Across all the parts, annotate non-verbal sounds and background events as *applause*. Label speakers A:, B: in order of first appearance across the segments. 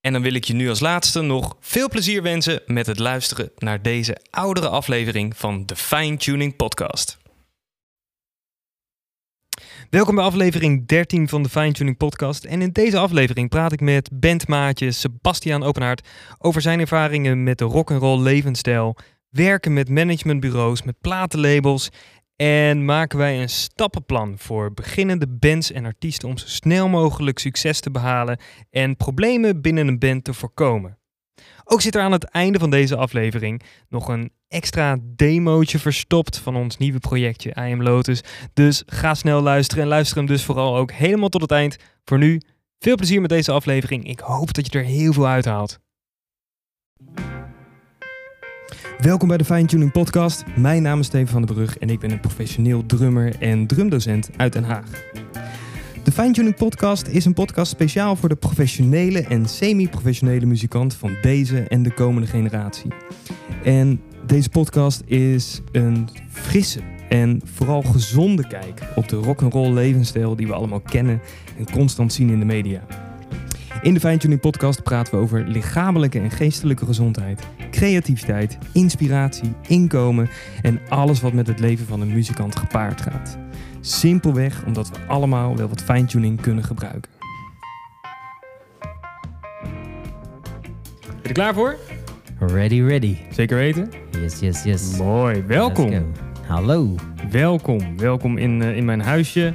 A: En dan wil ik je nu als laatste nog veel plezier wensen met het luisteren naar deze oudere aflevering van de Fine Tuning Podcast. Welkom bij aflevering 13 van de Fine Tuning Podcast. En in deze aflevering praat ik met bandmaatje Sebastian Openhaard over zijn ervaringen met de rock'n'roll levensstijl, werken met managementbureaus, met platenlabels en maken wij een stappenplan voor beginnende bands en artiesten om zo snel mogelijk succes te behalen en problemen binnen een band te voorkomen. Ook zit er aan het einde van deze aflevering nog een extra demootje verstopt van ons nieuwe projectje I Am Lotus. Dus ga snel luisteren en luister hem dus vooral ook helemaal tot het eind. Voor nu, veel plezier met deze aflevering. Ik hoop dat je er heel veel uit haalt. Welkom bij de Fine Tuning Podcast. Mijn naam is Steven van den Brug en ik ben een professioneel drummer en drumdocent uit Den Haag. De Fine Tuning Podcast is een podcast speciaal voor de professionele en semi-professionele muzikant van deze en de komende generatie. En deze podcast is een frisse en vooral gezonde kijk op de rock'n'roll levensstijl die we allemaal kennen en constant zien in de media. In de Fine Tuning Podcast praten we over lichamelijke en geestelijke gezondheid, creativiteit, inspiratie, inkomen en alles wat met het leven van een muzikant gepaard gaat. Simpelweg omdat we allemaal wel wat fine-tuning kunnen gebruiken. Ben je er klaar voor?
B: Ready, ready.
A: Zeker weten.
B: Yes, yes, yes.
A: Mooi,
B: Let's
A: welkom.
B: go. Hallo.
A: Welkom, welkom in, eh, in mijn huisje.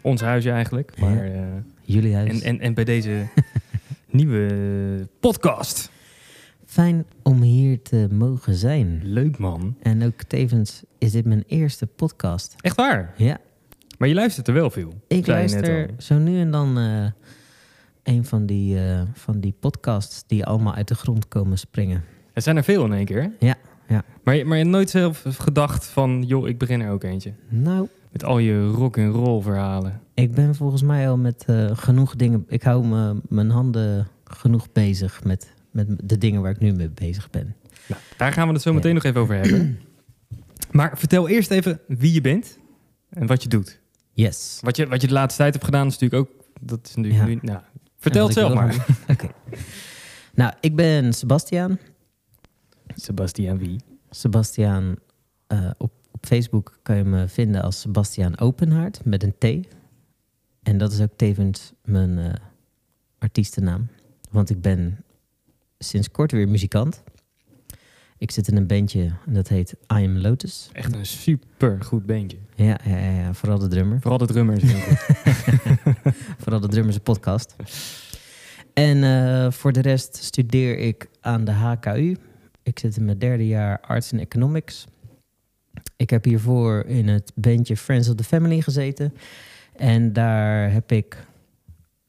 A: Ons huisje eigenlijk.
B: Ja.
A: Maar, eh,
B: Jullie huis.
A: en, en, en bij
B: *laughs*
A: deze nieuwe podcast.
B: Fijn om hier te mogen zijn.
A: Leuk man.
B: En ook tevens is dit mijn eerste podcast.
A: Echt waar.
B: Ja,
A: Maar je luistert er wel veel.
B: ik
A: Zei je net
B: luister
A: al.
B: zo nu en dan eh, een van die, eh, van die podcasts die allemaal uit de grond komen springen.
A: Er zijn er veel in één keer. hè?
B: Ja, ja.
A: Maar, je- maar je hebt nooit zelf gedacht van, joh, ik begin er ook eentje.
B: Nou,
A: Met al je rock and roll verhalen.
B: ik ben volgens mij al met eh, genoeg dingen... Ik hou me, mijn handen genoeg bezig met, met de dingen waar ik nu mee bezig ben.
A: Nou, daar gaan we het zo meteen nog even over
B: *clears throat*
A: hebben. Maar vertel eerst even wie je bent en wat je doet.
B: Yes.
A: Wat je, wat je de laatste tijd hebt gedaan is natuurlijk ook... Dat is natuurlijk
B: Ja.
A: nu, nou, vertel het
B: En wat
A: zelf
B: ik
A: maar.
B: wil doen. *laughs* Oké. Nou, ik ben Sebastiaan.
A: Sebastian wie?
B: Sebastiaan, eh, op, op Facebook kan je me vinden als Sebastiaan Openhaard met een T. En dat is ook tevens mijn eh, artiestennaam. Want ik ben sinds kort weer muzikant. Ik zit in een bandje en dat heet I Am Lotus.
A: Echt een super goed bandje.
B: Ja, ja, ja, ja, vooral de drummer.
A: Vooral de drummers. heel goed.
B: *laughs* Vooral de drummers podcast. En eh, voor de rest studeer ik aan de HKU. Ik zit in mijn derde jaar Arts en Economics. Ik heb hiervoor in het bandje Friends of the Family gezeten. En daar heb ik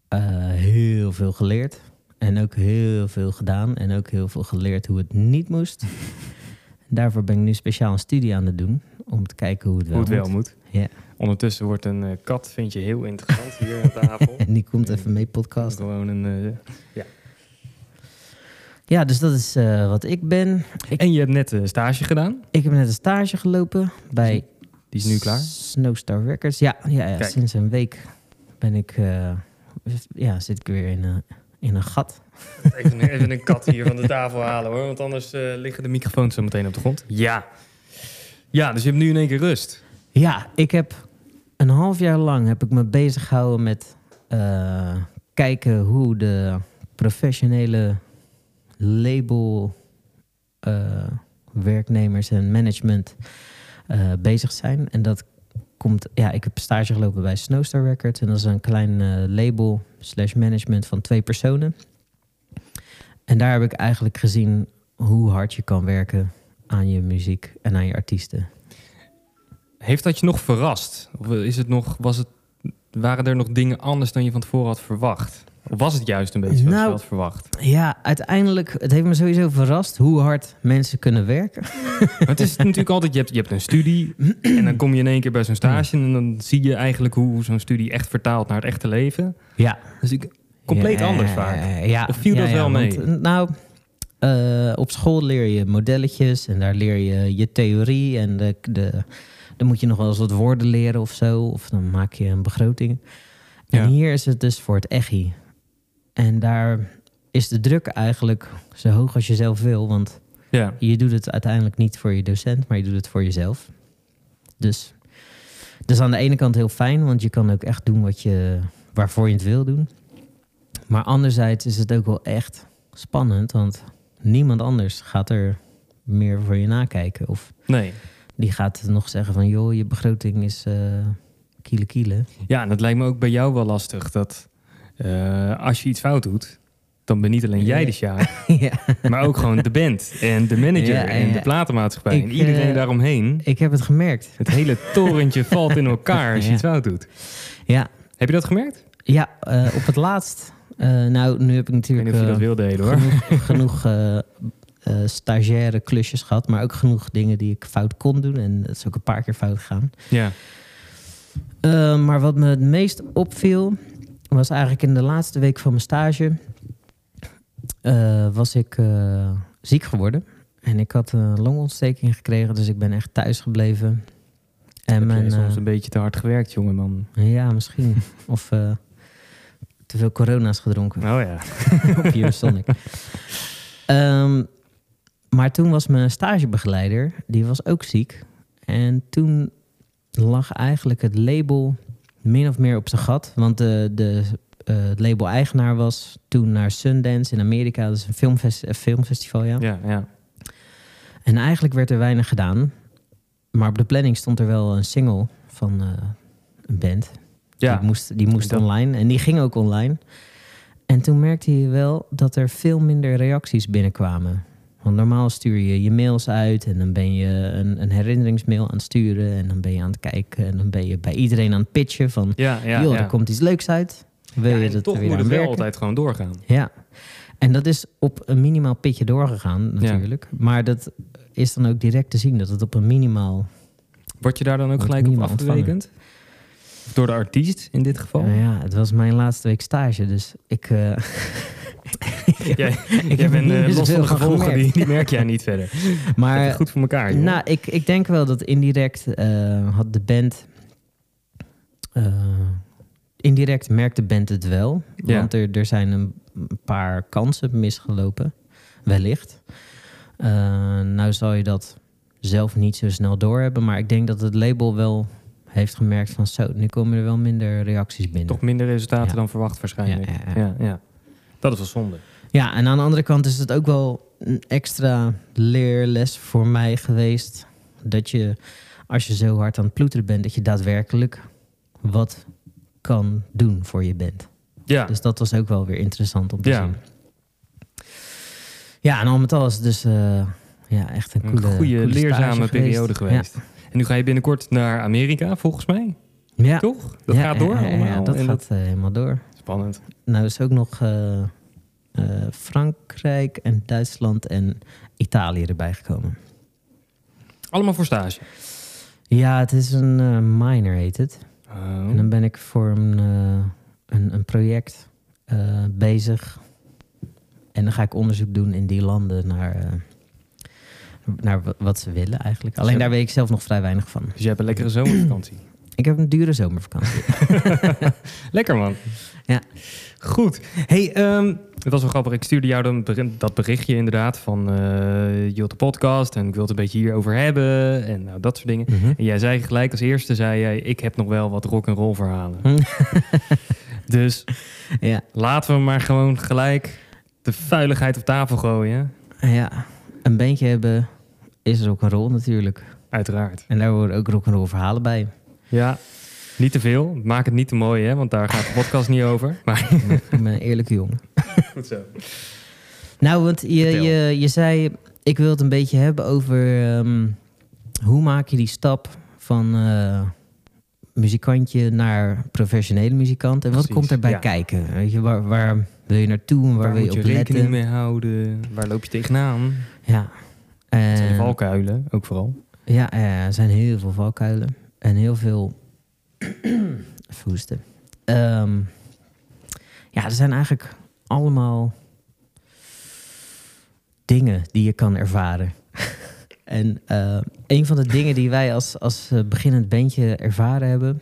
B: eh, heel veel geleerd. En ook heel veel gedaan. En ook heel veel geleerd hoe het niet moest. Daarvoor ben ik nu speciaal een studie aan het doen. Om te kijken hoe het wel,
A: Hoe het wel
B: moet.
A: moet.
B: *laughs* Ja.
A: Ondertussen wordt een eh, kat, vind je heel interessant hier aan
B: *laughs*
A: tafel.
B: En die komt even mee podcast.
A: Gewoon een... eh,
B: Ja, dus dat is eh, wat ik ben.
A: En je hebt net een stage gedaan.
B: Ik heb net een stage gelopen bij
A: Die is nu klaar.
B: Snowstar Records. Ja, ja, ja
A: Kijk.
B: sinds een week ben ik, eh, ja, zit ik weer in, een- in een gat.
A: Even, even een kat hier van de tafel halen hoor, want anders eh, liggen de microfoons zo meteen op de grond. Ja. Ja, dus je hebt nu in één keer rust.
B: Ja, ik heb een half jaar lang heb ik me bezig gehouden met eh, kijken hoe de professionele label eh, werknemers en management eh, bezig zijn. En dat komt, ja, ik heb stage gelopen bij Snowstar Records en dat is een klein eh, label slash management van twee personen. En daar heb ik eigenlijk gezien hoe hard je kan werken aan je muziek en aan je artiesten.
A: Heeft dat je nog verrast? Of eh, is het nog, was het, waren er nog dingen anders dan je van tevoren had verwacht? Of was het juist een beetje zoals je
B: Nou,
A: had verwacht?
B: Ja, uiteindelijk, het heeft me sowieso verrast hoe hard mensen kunnen werken.
A: Maar het is natuurlijk altijd, je hebt, je hebt een studie *clears throat* en dan kom je in één keer bij zo'n stage en dan zie je eigenlijk hoe zo'n studie echt vertaalt naar het echte leven.
B: Ja.
A: Dus ik, compleet
B: Ja,
A: anders vaak.
B: Ja,
A: Of viel
B: ja,
A: dat
B: ja,
A: wel mee?
B: want, nou, eh, op school leer je modelletjes en daar leer je je theorie en de, de, dan moet je nog wel eens wat woorden leren of zo. Of dan maak je een begroting. En
A: Ja.
B: hier is het dus voor het echi. En daar is de druk eigenlijk zo hoog als je zelf wil, want
A: Ja.
B: je doet het uiteindelijk niet voor je docent, maar je doet het voor jezelf. Dus dat is aan de ene kant heel fijn, want je kan ook echt doen wat je, waarvoor je het wil doen. Maar anderzijds is het ook wel echt spannend, want niemand anders gaat er meer voor je nakijken. Of
A: Nee.
B: die gaat nog zeggen van, joh, je begroting is eh kiele kiele. *laughs*
A: Ja, en dat lijkt me ook bij jou wel lastig. Dat eh, als je iets fout doet, dan ben niet alleen jij de sjaar,
B: ja.
A: *laughs* maar ook gewoon de band en de manager
B: Ja, ja,
A: en de
B: ja.
A: platenmaatschappij
B: Ik,
A: en iedereen
B: eh,
A: daaromheen.
B: Ik heb het gemerkt.
A: Het hele
B: *laughs*
A: torentje valt in elkaar als je
B: Ja.
A: iets fout doet.
B: Ja,
A: Heb je dat gemerkt? Ik
B: ja eh, op het laatst. eh, nou, nu heb ik
A: weet
B: natuurlijk...
A: niet of je
B: eh,
A: dat wil delen hoor.
B: genoeg, genoeg eh, eh, stagiaire klusjes gehad, maar ook genoeg dingen die ik fout kon doen. En dat is ook een paar keer fout gegaan.
A: Ja.
B: Eh, maar wat me het meest opviel, was eigenlijk in de laatste week van mijn stage, eh, was ik eh, ziek geworden. En ik had een longontsteking gekregen, dus ik ben echt thuis gebleven.
A: Heb
B: En
A: jij
B: mijn,
A: soms
B: eh,
A: een beetje te hard gewerkt, jongeman.
B: ja, misschien. *laughs* of eh, te veel corona's gedronken.
A: Oh ja.
B: op Eurosonic. Ehm, maar toen was mijn stagebegeleider, die was ook ziek. En toen lag eigenlijk het label min of meer op zijn gat. Want de, de, eh, het label-eigenaar was toen naar Sundance in Amerika. Dat is een filmfes- eh, filmfestival, ja.
A: Ja, ja.
B: En eigenlijk werd er weinig gedaan. Maar op de planning stond er wel een single van eh, een band.
A: Ja.
B: Die moest, die moest
A: Dat-
B: online en die ging ook online. En toen merkte je wel dat er veel minder reacties binnenkwamen. Want normaal stuur je je mails uit en dan ben je een, een herinneringsmail aan het sturen. En dan ben je aan het kijken en dan ben je bij iedereen aan het pitchen van...
A: Ja, ja,
B: joh,
A: ja.
B: er komt iets leuks uit. Wil
A: Ja,
B: je
A: en
B: dat
A: toch
B: er weer
A: moet
B: aan
A: het wel
B: werken?
A: altijd gewoon doorgaan.
B: Ja, en dat is op een minimaal pitje doorgegaan natuurlijk. Maar dat is dan ook direct te zien dat het op een minimaal...
A: Word je daar dan ook
B: Wordt
A: gelijk op
B: minimaal ontvangen.
A: afgerekend? Door de artiest in dit geval?
B: Nou ja, het was mijn laatste week stage, dus ik... *laughs* eh,
A: *laughs*
B: *laughs*
A: Jij,
B: heb
A: jij
B: er
A: bent
B: niet
A: eh,
B: meer
A: los van
B: zoveel
A: de
B: van
A: gevolgen,
B: gemerkt.
A: die, die merk jij niet verder. *laughs* Dat is
B: *laughs* maar
A: goed voor elkaar. joh.
B: Nou, ik, ik denk wel dat indirect eh, had de band. eh, indirect merkte de band het wel.
A: Ja.
B: Want er, er zijn een paar kansen misgelopen, wellicht. Eh, nou zal je dat zelf niet zo snel doorhebben, maar ik denk dat het label wel heeft gemerkt van zo, nu komen er wel minder reacties binnen.
A: Toch minder resultaten
B: Ja.
A: dan verwacht waarschijnlijk.
B: Ja, ja, ja.
A: ja, ja. Dat is wel zonde.
B: Ja, en aan de andere kant is het ook wel een extra leerles voor mij geweest. Dat je, als je zo hard aan het ploeteren bent, dat je daadwerkelijk wat kan doen voor je band.
A: Ja,
B: Dus dat was ook wel weer interessant om te
A: Ja.
B: zien. Ja, en al met al is het dus eh, ja, echt een,
A: een
B: coole,
A: goede
B: coole
A: leerzame
B: stage
A: periode geweest. En nu ga je binnenkort naar Amerika, volgens mij.
B: Ja. Ja.
A: Toch? Dat
B: Ja,
A: gaat door
B: ja, ja, ja,
A: allemaal.
B: dat
A: en
B: gaat eh, helemaal door.
A: Spannend.
B: Nou is ook nog eh, eh, Frankrijk en Duitsland en Italië erbij gekomen.
A: Allemaal voor stage.
B: Ja, het is een eh, minor heet het.
A: Oh.
B: En dan ben ik voor een, eh, een, een project eh, bezig. En dan ga ik onderzoek doen in die landen naar, eh, naar wa- wat ze willen eigenlijk. Alleen daar weet ik zelf nog vrij weinig van.
A: Dus je hebt een lekkere zomervakantie.
B: Ik heb een dure zomervakantie.
A: *laughs* Lekker man.
B: Ja.
A: Goed. Hey, ehm, het was wel grappig. Ik stuurde jou dan beri- dat berichtje inderdaad van eh je wilt de podcast en ik wil het een beetje hierover hebben en nou, dat soort dingen. En jij zei gelijk als eerste, zei jij, ik heb nog wel wat rock and roll verhalen. *laughs* dus
B: Hm. ja,
A: laten we maar gewoon gelijk de vuiligheid op tafel gooien.
B: ja, een bandje hebben is rock'n'roll natuurlijk.
A: Uiteraard.
B: En daar horen ook rock'n'roll verhalen bij.
A: Ja, niet te veel. Maak het niet te mooi, hè, want daar gaat de podcast niet over. Maar
B: ik ben een eerlijke jongen.
A: goed zo.
B: Nou, want je,
A: Vertel.
B: je, je zei, ik wil het een beetje hebben over ehm, hoe maak je die stap van eh, muzikantje naar professionele muzikant. En wat
A: Precies,
B: komt erbij
A: ja.
B: kijken? Weet je, waar, waar wil je naartoe en waar,
A: Waar
B: wil
A: moet
B: je
A: je
B: op
A: rekening
B: letten?
A: mee houden? Waar loop je tegenaan?
B: Ja. Eh,
A: Het zijn
B: En-
A: valkuilen, ook vooral.
B: ja, eh, er zijn heel veel valkuilen en heel veel *clears throat* even hoesten. Ehm, ja, er zijn eigenlijk allemaal dingen die je kan ervaren. *laughs* en eh, een van de dingen die wij als, als eh, beginnend bandje ervaren hebben,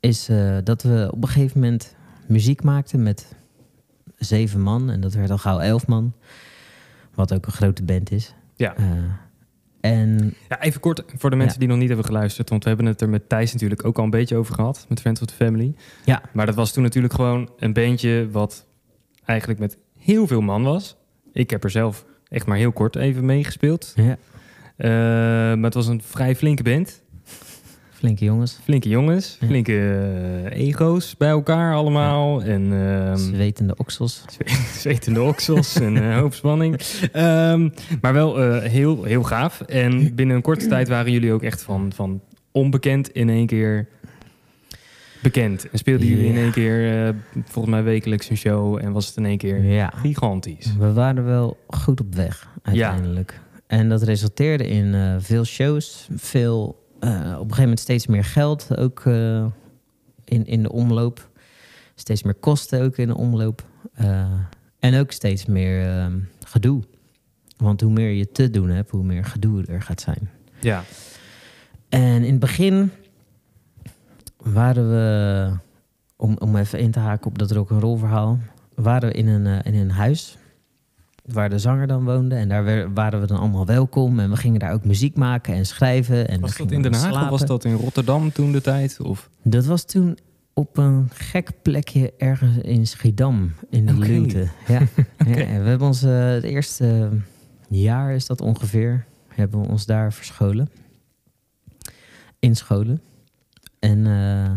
B: is eh, dat we op een gegeven moment muziek maakten met zeven man en dat werd al gauw elf man, wat ook een grote band is.
A: Ja.
B: Eh, en
A: Ja, even kort voor de mensen
B: Ja.
A: die nog niet hebben geluisterd. Want we hebben het er met Thijs natuurlijk ook al een beetje over gehad. Met Friends of the Family.
B: Ja.
A: Maar dat was toen natuurlijk gewoon een bandje wat eigenlijk met heel veel man was. Ik heb er zelf echt maar heel kort even meegespeeld.
B: Ja,
A: Eh, maar het was een vrij flinke band.
B: flinke jongens.
A: Flinke jongens.
B: Ja.
A: Flinke eh, ego's bij elkaar allemaal. En ehm,
B: Zwetende oksels.
A: Zwetende oksels en eh, hoop spanning. Ehm, maar wel eh, heel, heel gaaf. En binnen een korte tijd waren jullie ook echt van, van onbekend in één keer bekend. En speelden jullie in
B: Ja.
A: één keer, eh, volgens mij wekelijks een show. En was het in één keer
B: Ja,
A: gigantisch.
B: we waren wel goed op weg uiteindelijk. En dat resulteerde in eh, veel shows, veel, eh, op een gegeven moment steeds meer geld ook eh, in, in de omloop. Steeds meer kosten ook in de omloop. Eh, en ook steeds meer ehm, gedoe. Want hoe meer je te doen hebt, hoe meer gedoe er gaat zijn.
A: Ja,
B: En in het begin waren we, om, om even in te haken op dat rock'n'roll verhaal, waren we in een, eh, in een huis waar de zanger dan woonde. En daar wer- waren we dan allemaal welkom en we gingen daar ook muziek maken en schrijven. En
A: was
B: dan
A: dat in
B: gingen we
A: Den Haag
B: slapen.
A: of was dat in Rotterdam toen de tijd? Of?
B: Dat was toen op een gek plekje ergens in Schiedam, in de
A: Oké.
B: luwte. Ja. Ja, en we hebben ons eh, het eerste eh, jaar is dat ongeveer, hebben we ons daar verscholen. In scholen. En eh,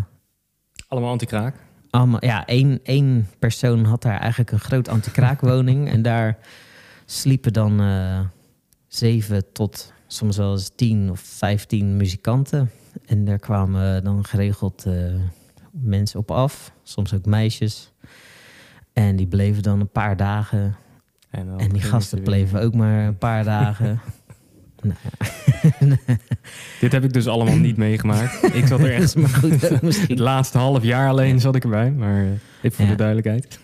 A: Allemaal antikraak.
B: allemaal, ja, één, één persoon had daar eigenlijk een groot
A: *laughs*
B: antikraakwoning. en daar sliepen dan eh, zeven tot soms wel eens tien of vijftien muzikanten. En daar kwamen eh, dan geregeld eh, mensen op af, soms ook meisjes. En die bleven dan een paar dagen.
A: dan
B: en
A: gingen
B: die
A: ze
B: gasten
A: weer.
B: bleven ook maar een paar
A: *laughs*
B: dagen. nou, ja,
A: Dit heb ik dus allemaal niet *laughs* meegemaakt. Ik zat er
B: dat
A: echt...
B: is *laughs* maar goed ook
A: Het *laughs*
B: misschien.
A: laatste half jaar alleen zat ik erbij. Maar eh, even voor
B: Ja.
A: de duidelijkheid.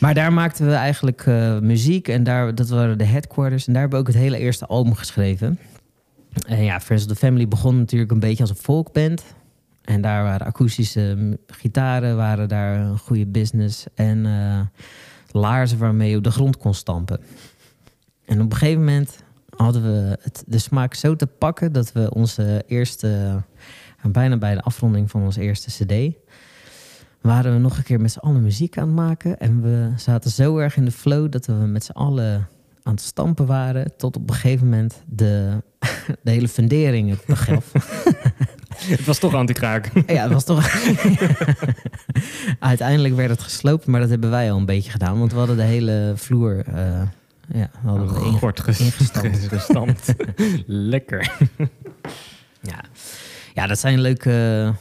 B: Maar daar maakten we eigenlijk eh, muziek en daar, dat waren de headquarters. En daar hebben we ook het hele eerste album geschreven. En ja, Friends of the Family begon natuurlijk een beetje als een folkband. En daar waren akoestische mm, gitaren, waren daar een goede business. En eh, laarzen waarmee je op de grond kon stampen. En op een gegeven moment hadden we het, de smaak zo te pakken... dat we onze eerste, bijna bij de afronding van onze eerste cd waren we nog een keer met z'n allen muziek aan het maken. En we zaten zo erg in de flow dat we met z'n allen aan het stampen waren. Tot op een gegeven moment de, *laughs* de hele fundering het begaf.
A: Het was toch antikraak.
B: ja, het was toch... *laughs* Uiteindelijk werd het gesloopt, maar dat hebben wij al een beetje gedaan. Want we hadden de hele vloer... eh ja,
A: Oh,
B: we hadden we inge-
A: Gort ges-
B: ingestampt. *laughs*
A: gestampt. Lekker.
B: ja. ja, dat zijn leuke,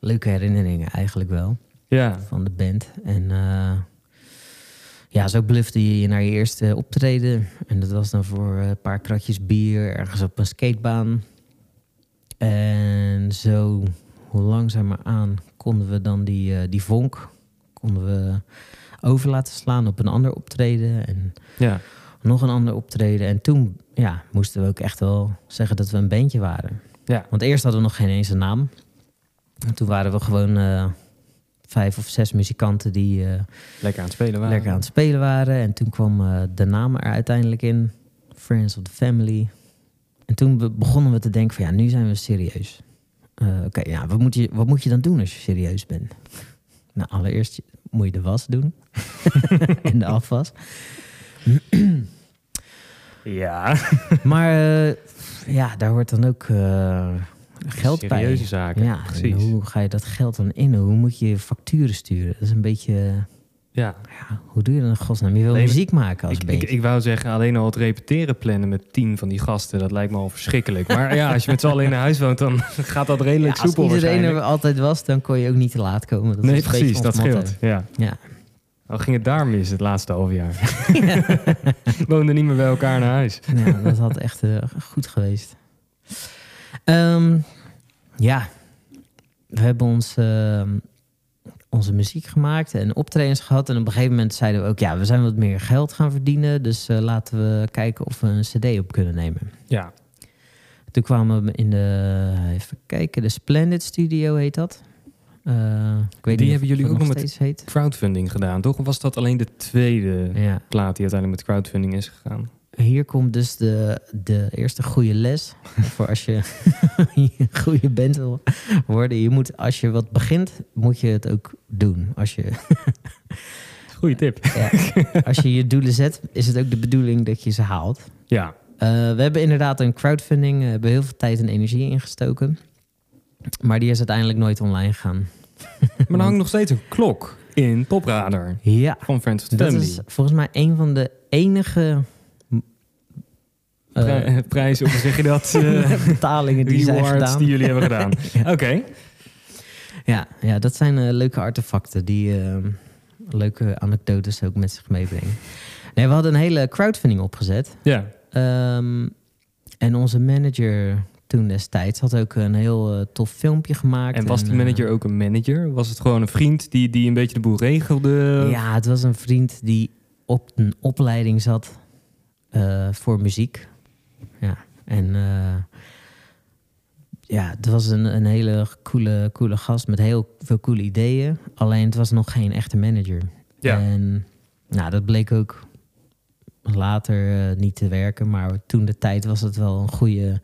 B: leuke herinneringen eigenlijk wel.
A: Ja.
B: van de band. En eh, ja, zo blufte je naar je eerste optreden. En dat was dan voor eh, een paar kratjes bier ergens op een skatebaan. En zo langzameraan konden we dan die, eh, die vonk konden we over laten slaan op een ander optreden. En
A: ja.
B: nog een ander optreden. En toen ja, moesten we ook echt wel zeggen dat we een bandje waren.
A: Ja.
B: Want eerst hadden we nog geen eens een naam. En toen waren we gewoon eh, vijf of zes muzikanten die eh,
A: Lekker aan het spelen waren.
B: lekker aan het spelen waren. En toen kwam eh, de naam er uiteindelijk in. Friends of the Family. En toen be- begonnen we te denken van ja, nu zijn we serieus. Eh, Oké, ja, wat, moet je, wat moet je dan doen als je serieus bent? Nou, allereerst moet je de was doen. *laughs* en de afwas.
A: Ja.
B: Maar eh, ja, daar hoort dan ook eh, geld bij.
A: Serieuze zaken.
B: Ja, en
A: precies.
B: hoe ga je dat geld dan in? Hoe moet je je facturen sturen? Dat is een beetje... eh,
A: Ja.
B: Ja, hoe doe je dat in godsnaam? Je wil
A: Nee, maar
B: muziek maken als
A: Ik, ik,
B: beetje.
A: ik wou zeggen, alleen al het repeteren plannen met tien van die gasten, dat lijkt me al verschrikkelijk. Maar ja, als je met z'n allen in een huis woont, dan *laughs* gaat dat
B: Ja,
A: redelijk
B: als
A: soepel
B: iedereen er
A: waarschijnlijk.
B: altijd was, dan kon je ook niet te laat komen. Dat
A: nee,
B: is een
A: precies,
B: beetje
A: dat
B: ons motto.
A: scheelt. Ja.
B: Ja.
A: Al ging het daar mis het laatste half jaar. *laughs*
B: *laughs*
A: Woonden niet meer bij elkaar naar huis.
B: Ja, dat had echt eh, goed geweest. Ehm, ja, we hebben ons, ehm, onze muziek gemaakt en optredens gehad. En op een gegeven moment zeiden we ook, ja, we zijn wat meer geld gaan verdienen. Dus eh, laten we kijken of we een cd op kunnen nemen.
A: Ja.
B: Toen kwamen we in de, even kijken, de Splendid Studio heet dat. Eh, ik
A: Die
B: weet niet
A: hebben jullie
B: of
A: ook
B: het nog
A: nog met-
B: steeds heet.
A: Crowdfunding gedaan, toch? Of was dat alleen de tweede
B: Ja.
A: plaat die uiteindelijk met crowdfunding is gegaan?
B: Hier komt dus de, de eerste goede
A: *laughs*
B: les. voor als je *laughs* een goede band wil worden. Je moet, als je wat begint, moet je het ook doen. Als je,
A: *laughs* Goeie tip.
B: *laughs* ja, als je je doelen zet, is het ook de bedoeling dat je ze haalt.
A: Ja.
B: Eh, we hebben inderdaad een crowdfunding. We hebben heel veel tijd en energie ingestoken. Maar die is uiteindelijk nooit online gegaan.
A: Maar
B: Mm.
A: er hangt nog steeds een klok in Popradar
B: Ja,
A: van Friends of the
B: dat
A: Family.
B: is volgens mij een van de enige... eh,
A: Pri- prijs, of hoe zeg je
B: *laughs*
A: dat? eh
B: betalingen die zijn
A: rewards
B: gedaan.
A: die jullie hebben
B: *laughs*
A: gedaan. Oké.
B: Ja, ja dat zijn eh, leuke artefacten die ehm, leuke anekdotes ook met zich meebrengen. Nee, we hadden een hele crowdfunding opgezet.
A: Ja.
B: Ehm, en onze manager toen destijds had ook een heel eh, tof filmpje gemaakt.
A: En was die
B: eh,
A: manager ook een manager? Was het gewoon een vriend die, die een beetje de boel regelde?
B: ja, het was een vriend die op een opleiding zat eh, voor muziek. Ja, en eh, ja, het was een, een hele coole, coole gast met heel veel coole ideeën. Alleen het was nog geen echte manager.
A: Ja.
B: En nou, dat bleek ook later eh, niet te werken. Maar toen de tijd was het wel een goede,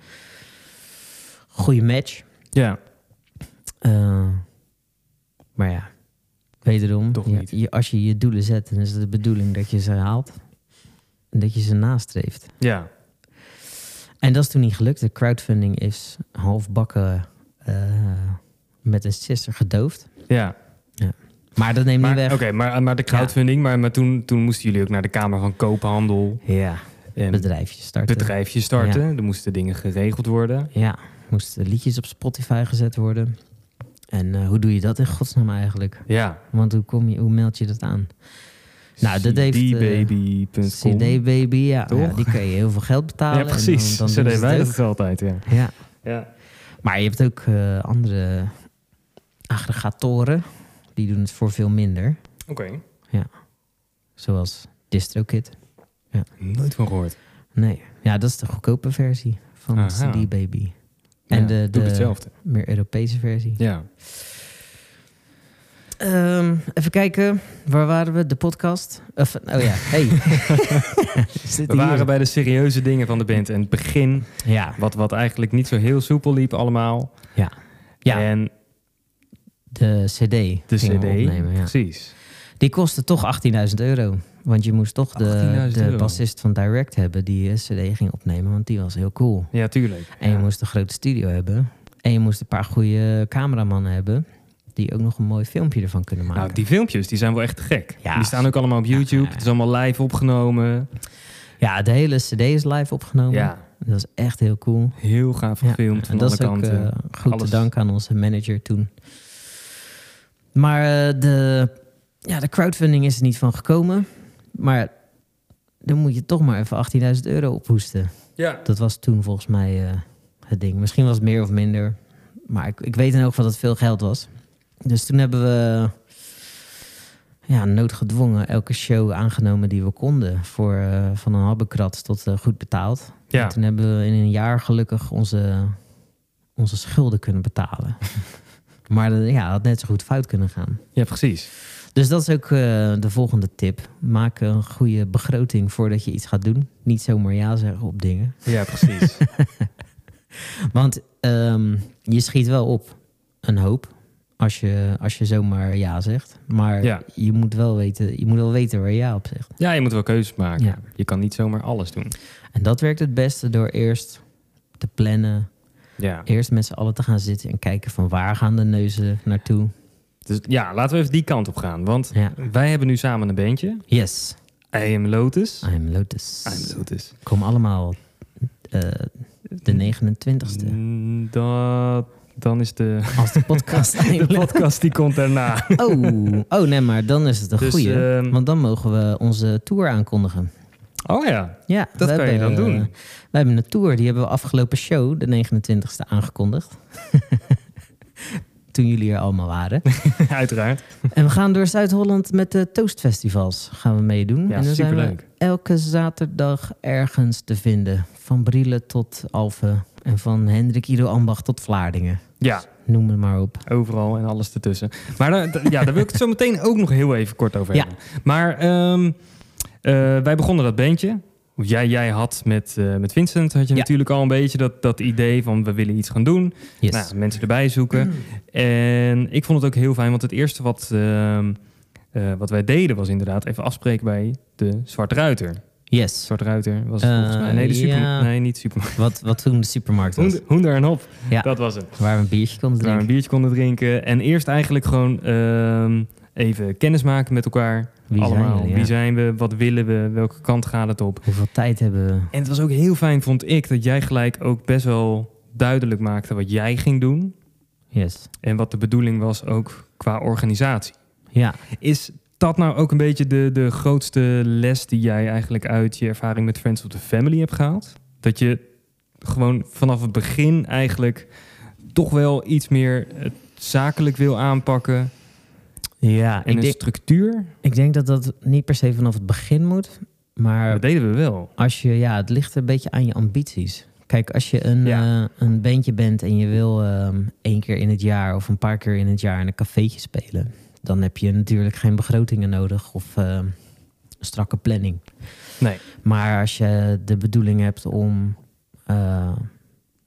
B: goede match.
A: Ja.
B: Eh, maar ja, wederom,
A: Toch
B: je-
A: niet.
B: je- als je je doelen zet, dan is het de bedoeling dat je ze haalt. En dat je ze nastreeft.
A: Ja.
B: En dat is toen niet gelukt. De crowdfunding is halfbakken eh, met een sister gedoofd.
A: Ja.
B: Maar dat neemt
A: Maar,
B: niet weg.
A: oké, maar, maar de crowdfunding, maar, maar toen, toen moesten jullie ook naar de Kamer van Koophandel
B: Ja,
A: en
B: bedrijfje starten.
A: bedrijfjes starten. Er moesten dingen geregeld worden.
B: Ja, moesten liedjes op Spotify gezet worden. En eh, hoe doe je dat in godsnaam eigenlijk?
A: Ja.
B: Want hoe, kom je, hoe meld je dat aan? Nou, dat heeft, eh,
A: cdbaby.com.
B: CD Baby, ja,
A: Toch?
B: ja, die kan je heel veel geld betalen.
A: Ja, precies.
B: En dan, dan doen
A: CD
B: ze het
A: wij dat
B: ook.
A: het altijd, ja.
B: Ja,
A: Ja.
B: maar je hebt ook eh, andere aggregatoren. Die doen het voor veel minder.
A: Oké.
B: Zoals DistroKid.
A: Nooit van gehoord.
B: Nee, ja, dat is de goedkope versie van
A: Aha.
B: CD Baby. En de-
A: doe
B: de-
A: hetzelfde.
B: Meer Europese versie.
A: Ja.
B: Ehm, even kijken, waar waren we? De podcast? Of, oh ja, hey.
A: We waren bij de serieuze dingen van de band. En het begin,
B: *laughs* Ja,
A: wat, wat eigenlijk niet zo heel soepel liep allemaal.
B: Ja. Ja.
A: En
B: de CD.
A: de
B: gingen
A: cd,
B: we Opnemen, ja.
A: precies.
B: Die kostte toch 18.000 euro. Want je moest toch de,
A: 18.000
B: de
A: euro.
B: bassist van Direct hebben die een CD ging opnemen, want die was heel cool.
A: Ja, tuurlijk.
B: En je
A: Ja.
B: moest een grote studio hebben. En je moest een paar goede cameramannen hebben die ook nog een mooi filmpje ervan kunnen maken.
A: Nou, die filmpjes, die zijn wel echt gek.
B: Ja.
A: Die staan ook allemaal op
B: Ja,
A: YouTube.
B: ja, ja.
A: Het is allemaal live opgenomen.
B: Ja, de hele CD is live opgenomen.
A: Ja,
B: Dat is echt heel cool.
A: heel gaaf
B: Ja,
A: gefilmd
B: en
A: van alle
B: dat is ook
A: kanten.
B: eh, goed
A: Alles.
B: te danken aan onze manager toen. Maar eh, de, ja, de crowdfunding is er niet van gekomen. Maar dan moet je toch maar even 18.000 euro ophoesten.
A: ja.
B: Dat was toen volgens mij eh, het ding. Misschien was het meer of minder. Maar ik, ik weet in elk geval dat het veel geld was. Dus toen hebben we ja, noodgedwongen elke show aangenomen die we konden. Voor, eh, van een habbekrat tot eh, goed betaald. En
A: Ja.
B: toen hebben we in een jaar gelukkig onze, onze schulden kunnen betalen. *laughs* maar dat- ja, dat had net zo goed fout kunnen gaan.
A: Ja, precies.
B: Dus dat is ook eh, de volgende tip. Maak een goede begroting voordat je iets gaat doen. Niet zomaar ja zeggen op dingen.
A: Ja,
B: *laughs*
A: precies.
B: Want ehm, je schiet wel op een hoop als je, als je zomaar ja zegt. Maar
A: Ja.
B: je, moet wel weten, je moet wel weten waar je ja op zegt.
A: ja, je moet wel keuzes maken.
B: Ja.
A: Je kan niet zomaar alles doen.
B: En dat werkt het beste door eerst te plannen.
A: Ja.
B: Eerst met z'n allen te gaan zitten en kijken van waar gaan de neuzen naartoe.
A: Dus ja, laten we even die kant op gaan. Want
B: Ja.
A: wij hebben nu samen een beentje.
B: Yes,
A: I am Lotus.
B: I am Lotus.
A: I am Lotus.
B: Kom allemaal eh, de 29ste.
A: Mm, Dat, dan is *laughs* de,
B: Als de podcast
A: *laughs* de
B: eindigt.
A: podcast die komt daarna.
B: Oh, oh nee, maar dan is het een
A: Dus,
B: goeie.
A: ehm,
B: Want dan mogen we onze tour aankondigen.
A: *laughs* Oh ja, *laughs*
B: Ja,
A: dat
B: we
A: kan je dan
B: hebben, eh,
A: doen.
B: we hebben een tour, die hebben we afgelopen show, de 29e, aangekondigd. *laughs* Toen jullie er allemaal
A: *laughs*
B: waren.
A: Uiteraard.
B: en we gaan door Zuid-Holland met de toastfestivals gaan we meedoen.
A: Ja,
B: en dan zijn we
A: superleuk.
B: elke zaterdag ergens te vinden. Van Brielen tot Alphen en van Hendrik Ido Ambacht tot Vlaardingen.
A: Ja,
B: Noem het maar op.
A: overal en alles ertussen. Maar daar, d- ja, daar wil ik het zo meteen ook nog heel even kort over
B: Ja.
A: hebben. Maar ehm, eh, wij begonnen dat bandje. Of Jij, jij had met, eh, met Vincent had je
B: Ja.
A: natuurlijk al een beetje dat, dat idee van we willen iets gaan doen.
B: Yes. Mm.
A: Nou, mensen erbij zoeken. En ik vond het ook heel fijn, want het eerste wat, ehm, eh, wat wij deden was inderdaad even afspreken bij de Zwarte Ruiter.
B: yes.
A: Zwarte Ruiter was
B: Eh,
A: volgens mij... Nee, de super,
B: ja.
A: nee niet super.
B: Wat, wat toen de supermarkt was.
A: Hoender- Hoender en Hop,
B: Ja.
A: dat was het.
B: Waar we een biertje konden
A: Waar we een
B: drinken.
A: biertje konden drinken. En eerst eigenlijk gewoon ehm, even kennis maken met elkaar.
B: Wie zijn
A: Allemaal.
B: jullie, ja.
A: Wie zijn we? Wat willen we? Welke kant gaat het op?
B: Hoeveel tijd hebben we?
A: En het was ook heel fijn, vond ik, dat jij gelijk ook best wel duidelijk maakte wat jij ging doen.
B: Yes.
A: En wat de bedoeling was ook qua organisatie.
B: Ja,
A: Is dat nou ook een beetje de, de grootste les die jij eigenlijk uit je ervaring met Friends of the Family hebt gehaald? Dat je gewoon vanaf het begin eigenlijk toch wel iets meer eh, zakelijk wil aanpakken.
B: ja
A: En
B: ik,
A: een
B: denk,
A: structuur,
B: ik denk dat dat niet per se vanaf het begin moet.
A: dat
B: Maar
A: deden we wel.
B: als je, ja, het ligt een beetje aan je ambities. Kijk, als je een,
A: Ja.
B: eh, een bandje bent en je wil ehm, één keer in het jaar of een paar keer in het jaar in een cafeetje spelen, dan heb je natuurlijk geen begrotingen nodig of ehm, een strakke planning.
A: Nee.
B: Maar als je de bedoeling hebt om eh,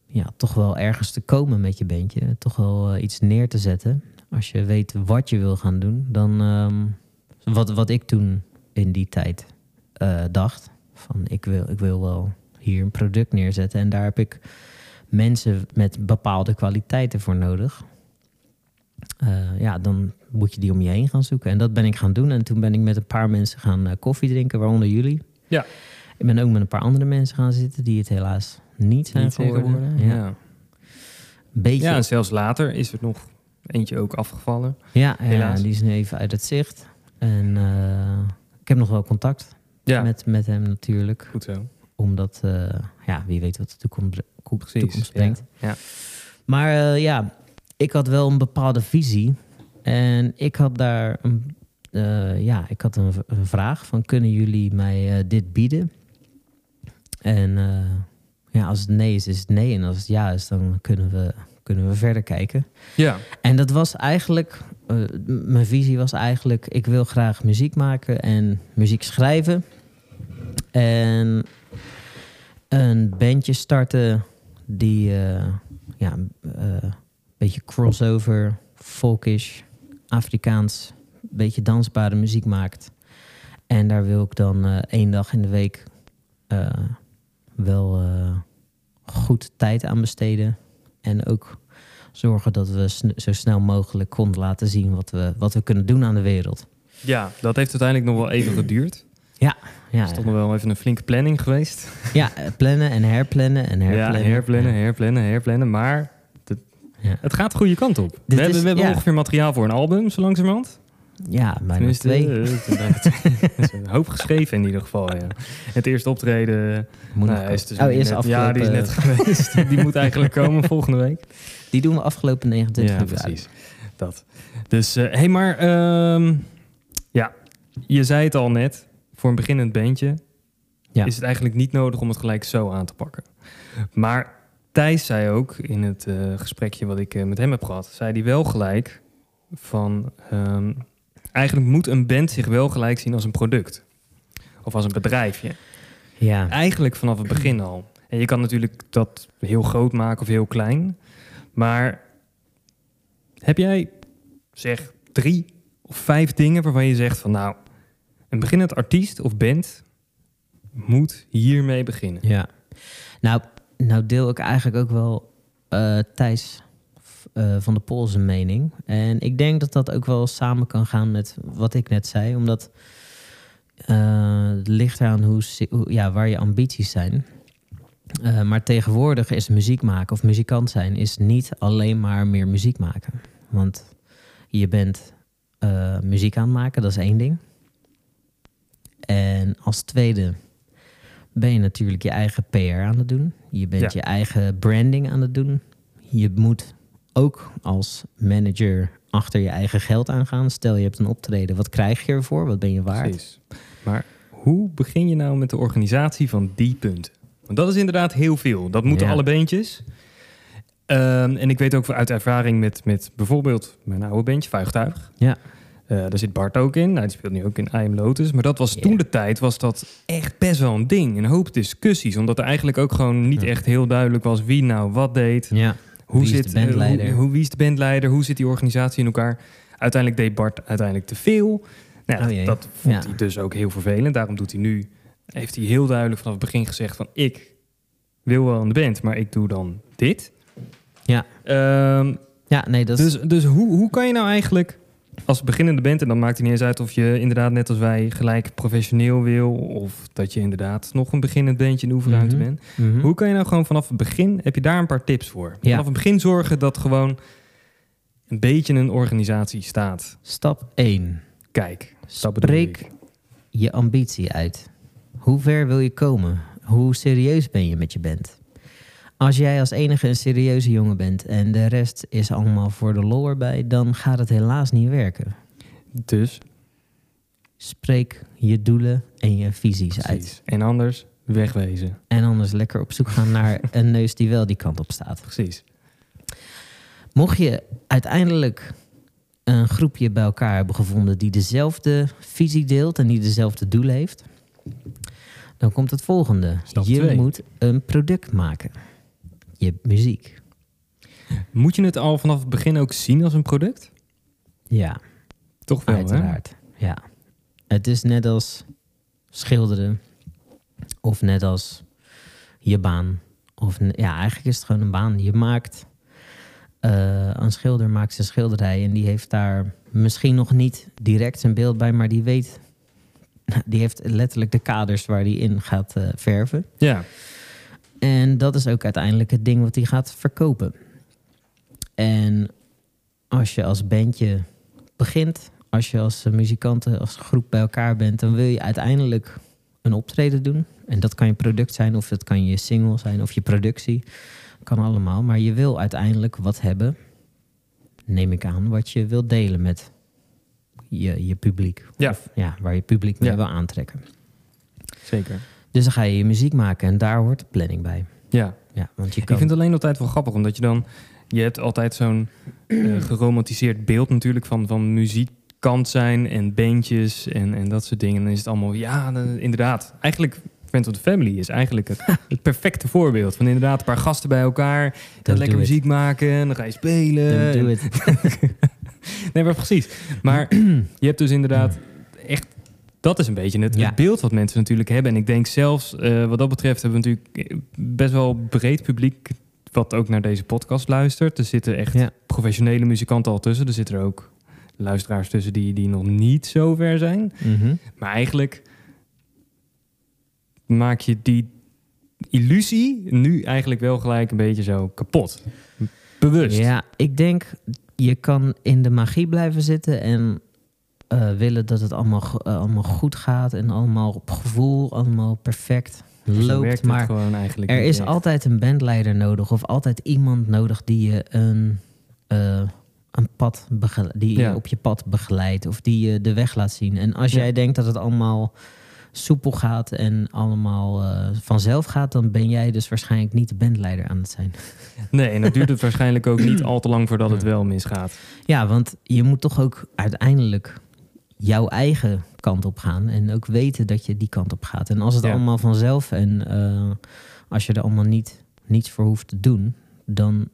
B: ja, toch wel ergens te komen met je bandje, toch wel eh, iets neer te zetten, als je weet wat je wil gaan doen, dan ehm, wat, wat ik toen in die tijd eh, dacht, van ik wil, ik wil wel hier een product neerzetten en daar heb ik mensen met bepaalde kwaliteiten voor nodig. Eh, ja, dan moet je die om je heen gaan zoeken. En dat ben ik gaan doen. En toen ben ik met een paar mensen gaan eh, koffie drinken, waaronder jullie.
A: Ja.
B: Ik ben ook met een paar andere mensen gaan zitten die het helaas niet zijn
A: Niet
B: geworden.
A: tegenwoordig,
B: Ja.
A: Ja.
B: Beetje.
A: ja,
B: Ja,
A: en zelfs later is er nog eentje ook afgevallen.
B: ja,
A: helaas.
B: die is nu even uit het zicht. En eh, ik heb nog wel contact
A: Ja,
B: met, met hem natuurlijk.
A: goed zo.
B: Omdat, eh, ja, wie weet wat de toekomst,
A: Precies,
B: toekomst
A: ja.
B: brengt.
A: Ja.
B: Maar eh, ja, ik had wel een bepaalde visie. En ik had daar een, eh, ja, ik had een, v- een vraag van... kunnen jullie mij eh, dit bieden? En eh, ja, als het nee is, is het nee. En als het ja is, dan kunnen we, kunnen we verder kijken.
A: Ja,
B: En dat was eigenlijk... eh, m- mijn visie was eigenlijk... ik wil graag muziek maken en muziek schrijven. En een bandje starten die... eh, ja, eh, een beetje crossover, folkish, Afrikaans... een beetje dansbare muziek maakt. En daar wil ik dan eh, één dag in de week... eh, wel eh, goed tijd aan besteden. En ook zorgen dat we sn- zo snel mogelijk konden laten zien wat we, wat we kunnen doen aan de wereld.
A: ja, dat heeft uiteindelijk nog wel even geduurd.
B: Ja,
A: Er is toch nog wel even een flinke planning geweest.
B: ja eh, plannen en herplannen en herplannen.
A: Ja, herplannen, herplannen, herplannen. Maar
B: Ja,
A: het gaat de goede kant op. we
B: is-
A: hebben, we hebben
B: ja.
A: ongeveer materiaal voor een album, zo langzamerhand.
B: ja bijna
A: Tenminste,
B: twee.
A: eh,
B: *laughs*
A: er is een hoop geschreven in ieder geval, ja. Het eerste optreden...
B: Moet
A: nou,
B: nog
A: hij is dus
B: oh,
A: nu
B: eerst
A: net-
B: afgelopen.
A: Ja, die is net geweest. die moet eigenlijk komen volgende week.
B: die doen we afgelopen 29
A: ja,
B: februari.
A: precies. Dat. Dus, eh, hey, maar ehm, ja, je zei het al net. Voor een beginnend bandje
B: Ja.
A: is het eigenlijk niet nodig om het gelijk zo aan te pakken. Maar Thijs zei ook in het eh, gesprekje wat ik eh, met hem heb gehad, zei hij wel gelijk van ehm, eigenlijk moet een band zich wel gelijk zien als een product of als een bedrijfje.
B: Ja,
A: Eigenlijk vanaf het begin al. En je kan natuurlijk dat heel groot maken of heel klein, maar heb jij zeg drie of vijf dingen waarvan je zegt van nou, een beginnend artiest of band moet hiermee beginnen.
B: ja. Nou, nou deel ik eigenlijk ook wel eh, Thijs eh, van de Pool zijn mening. En ik denk dat dat ook wel samen kan gaan met wat ik net zei. Omdat eh, het ligt eraan hoe, si- hoe- ja, waar je ambities zijn. Eh, maar tegenwoordig is muziek maken of muzikant zijn... is niet alleen maar meer muziek maken. Want je bent eh, muziek aan het maken, dat is één ding. En als tweede ben je natuurlijk je eigen PR aan het doen. Je bent
A: Ja.
B: je eigen branding aan het doen. Je moet ook als manager achter je eigen geld aangaan. Stel je hebt een optreden, wat krijg je ervoor? Wat ben je waard?
A: Precies. Maar hoe begin je nou met de organisatie van die punten? Want dat is inderdaad heel veel. Dat moeten
B: Ja.
A: alle beentjes. Ehm, en ik weet ook uit ervaring met, met bijvoorbeeld mijn oude bandje, Vuigtuig.
B: Ja.
A: Eh, daar zit Bart ook in. Nou, die speelt nu ook in I Am Lotus. Maar dat was
B: Ja.
A: toen de tijd, was dat echt best wel een ding. Een hoop discussies. Omdat er eigenlijk ook gewoon niet
B: Ja.
A: echt heel duidelijk was wie nou wat deed.
B: Ja,
A: Hoe
B: Wie is
A: zit,
B: de bandleider?
A: eh, Hoe, hoe- wie is de bandleider? Hoe zit die organisatie in elkaar? Uiteindelijk deed Bart uiteindelijk te veel. Nou,
B: Oh
A: dat-
B: jee.
A: dat vond
B: Ja.
A: hij dus ook heel vervelend. Daarom doet hij nu, heeft hij heel duidelijk vanaf het begin gezegd van ik wil wel aan de band, maar ik doe dan dit.
B: Ja.
A: Ehm,
B: ja nee, dat is...
A: dus dus hoe, hoe kan je nou eigenlijk als beginnende band, en dan maakt het niet eens uit of je inderdaad net als wij gelijk professioneel wil, of dat je inderdaad nog een beginnend bandje in de oefenruimte
B: Mhm.
A: bent.
B: Mhm.
A: Hoe kan je nou gewoon vanaf het begin, heb je daar een paar tips voor?
B: Ja.
A: Vanaf het begin zorgen dat gewoon een beetje een organisatie staat.
B: Stap 1.
A: Kijk, dat bedoel
B: Spreek
A: ik.
B: je ambitie uit. Hoe ver wil je komen? Hoe serieus ben je met je band? Als jij als enige een serieuze jongen bent en de rest is allemaal voor de lol erbij, dan gaat het helaas niet werken.
A: Dus,
B: Spreek je doelen en je visies uit.
A: precies. En anders, wegwezen.
B: En anders lekker op zoek gaan naar een neus die wel die kant op staat.
A: Precies.
B: Mocht je uiteindelijk een groepje bij elkaar hebben gevonden die dezelfde visie deelt en die dezelfde doel heeft, dan komt het volgende.
A: Stap
B: je
A: twee.
B: moet een product maken. Je muziek.
A: Moet je het al vanaf het begin ook zien als een product?
B: Ja,
A: Toch wel, hè?
B: uiteraard. Ja. Het is net als schilderen of net als je baan. Of n- ja, eigenlijk is het gewoon een baan. Je maakt eh, een schilder maakt zijn schilderij en die heeft daar misschien nog niet direct zijn beeld bij, maar die weet, *laughs* die heeft letterlijk de kaders waar die in gaat eh, verven.
A: Ja,
B: En dat is ook uiteindelijk het ding wat hij gaat verkopen. En als je als bandje begint, als je als eh, muzikanten, als groep bij elkaar bent, dan wil je uiteindelijk een optreden doen. En dat kan je product zijn, of dat kan je single zijn, of je productie. Kan allemaal. Maar je wil uiteindelijk wat hebben, neem ik aan, wat je wilt delen met je, je publiek.
A: Ja.
B: Of, ja, waar je publiek mee
A: Ja.
B: wil aantrekken.
A: zeker.
B: Dus dan ga je je muziek maken en daar hoort de planning bij.
A: Ja.
B: Ja, want je
A: Ik
B: kan...
A: vind het alleen altijd wel grappig, omdat je dan... Je hebt altijd zo'n
B: *clears throat*
A: eh, geromantiseerd beeld natuurlijk van, van muziekkant zijn en bandjes en, en dat soort dingen. En dan is het allemaal, ja, dan- inderdaad. Eigenlijk, Friends of the Family is eigenlijk
B: *laughs*
A: het, het perfecte voorbeeld. Van inderdaad een paar gasten bij elkaar,
B: Don't
A: dan lekker
B: do it.
A: muziek eh, maken, en dan ga je spelen.
B: Don't do it.
A: Nee, maar precies.
B: *clears throat*
A: Maar je hebt dus inderdaad echt... Dat is een beetje het,
B: Ja.
A: het beeld wat mensen natuurlijk hebben. En ik denk zelfs, eh, wat dat betreft, hebben we natuurlijk eh, best wel breed publiek... wat ook naar deze podcast luistert. Er zitten echt
B: Ja.
A: professionele muzikanten al tussen. Er zitten er ook luisteraars tussen die, die nog niet zo ver zijn.
B: Mhm.
A: Maar eigenlijk maak je die illusie nu eigenlijk wel gelijk een beetje zo kapot. Bewust.
B: Ja, ik denk je kan in de magie blijven zitten en eh, willen dat het allemaal, go- eh, allemaal goed gaat en allemaal op gevoel, allemaal perfect
A: Zo
B: loopt.
A: werkt het
B: Maar
A: gewoon eigenlijk
B: er
A: niet
B: is
A: echt.
B: altijd een bandleider nodig of altijd iemand nodig die je een, eh, een pad begele- die je
A: Ja.
B: op je pad begeleidt of die je de weg laat zien. En als
A: Ja.
B: jij denkt dat het allemaal soepel gaat en allemaal eh, vanzelf gaat, dan ben jij dus waarschijnlijk niet de bandleider aan het zijn.
A: Nee, en dan duurt het waarschijnlijk ook niet al te lang voordat het wel misgaat.
B: Ja, want je moet toch ook uiteindelijk jouw eigen kant op gaan. En ook weten dat je die kant op gaat. En als het
A: Ja.
B: allemaal vanzelf en eh, als je er allemaal niet, niets voor hoeft te doen, dan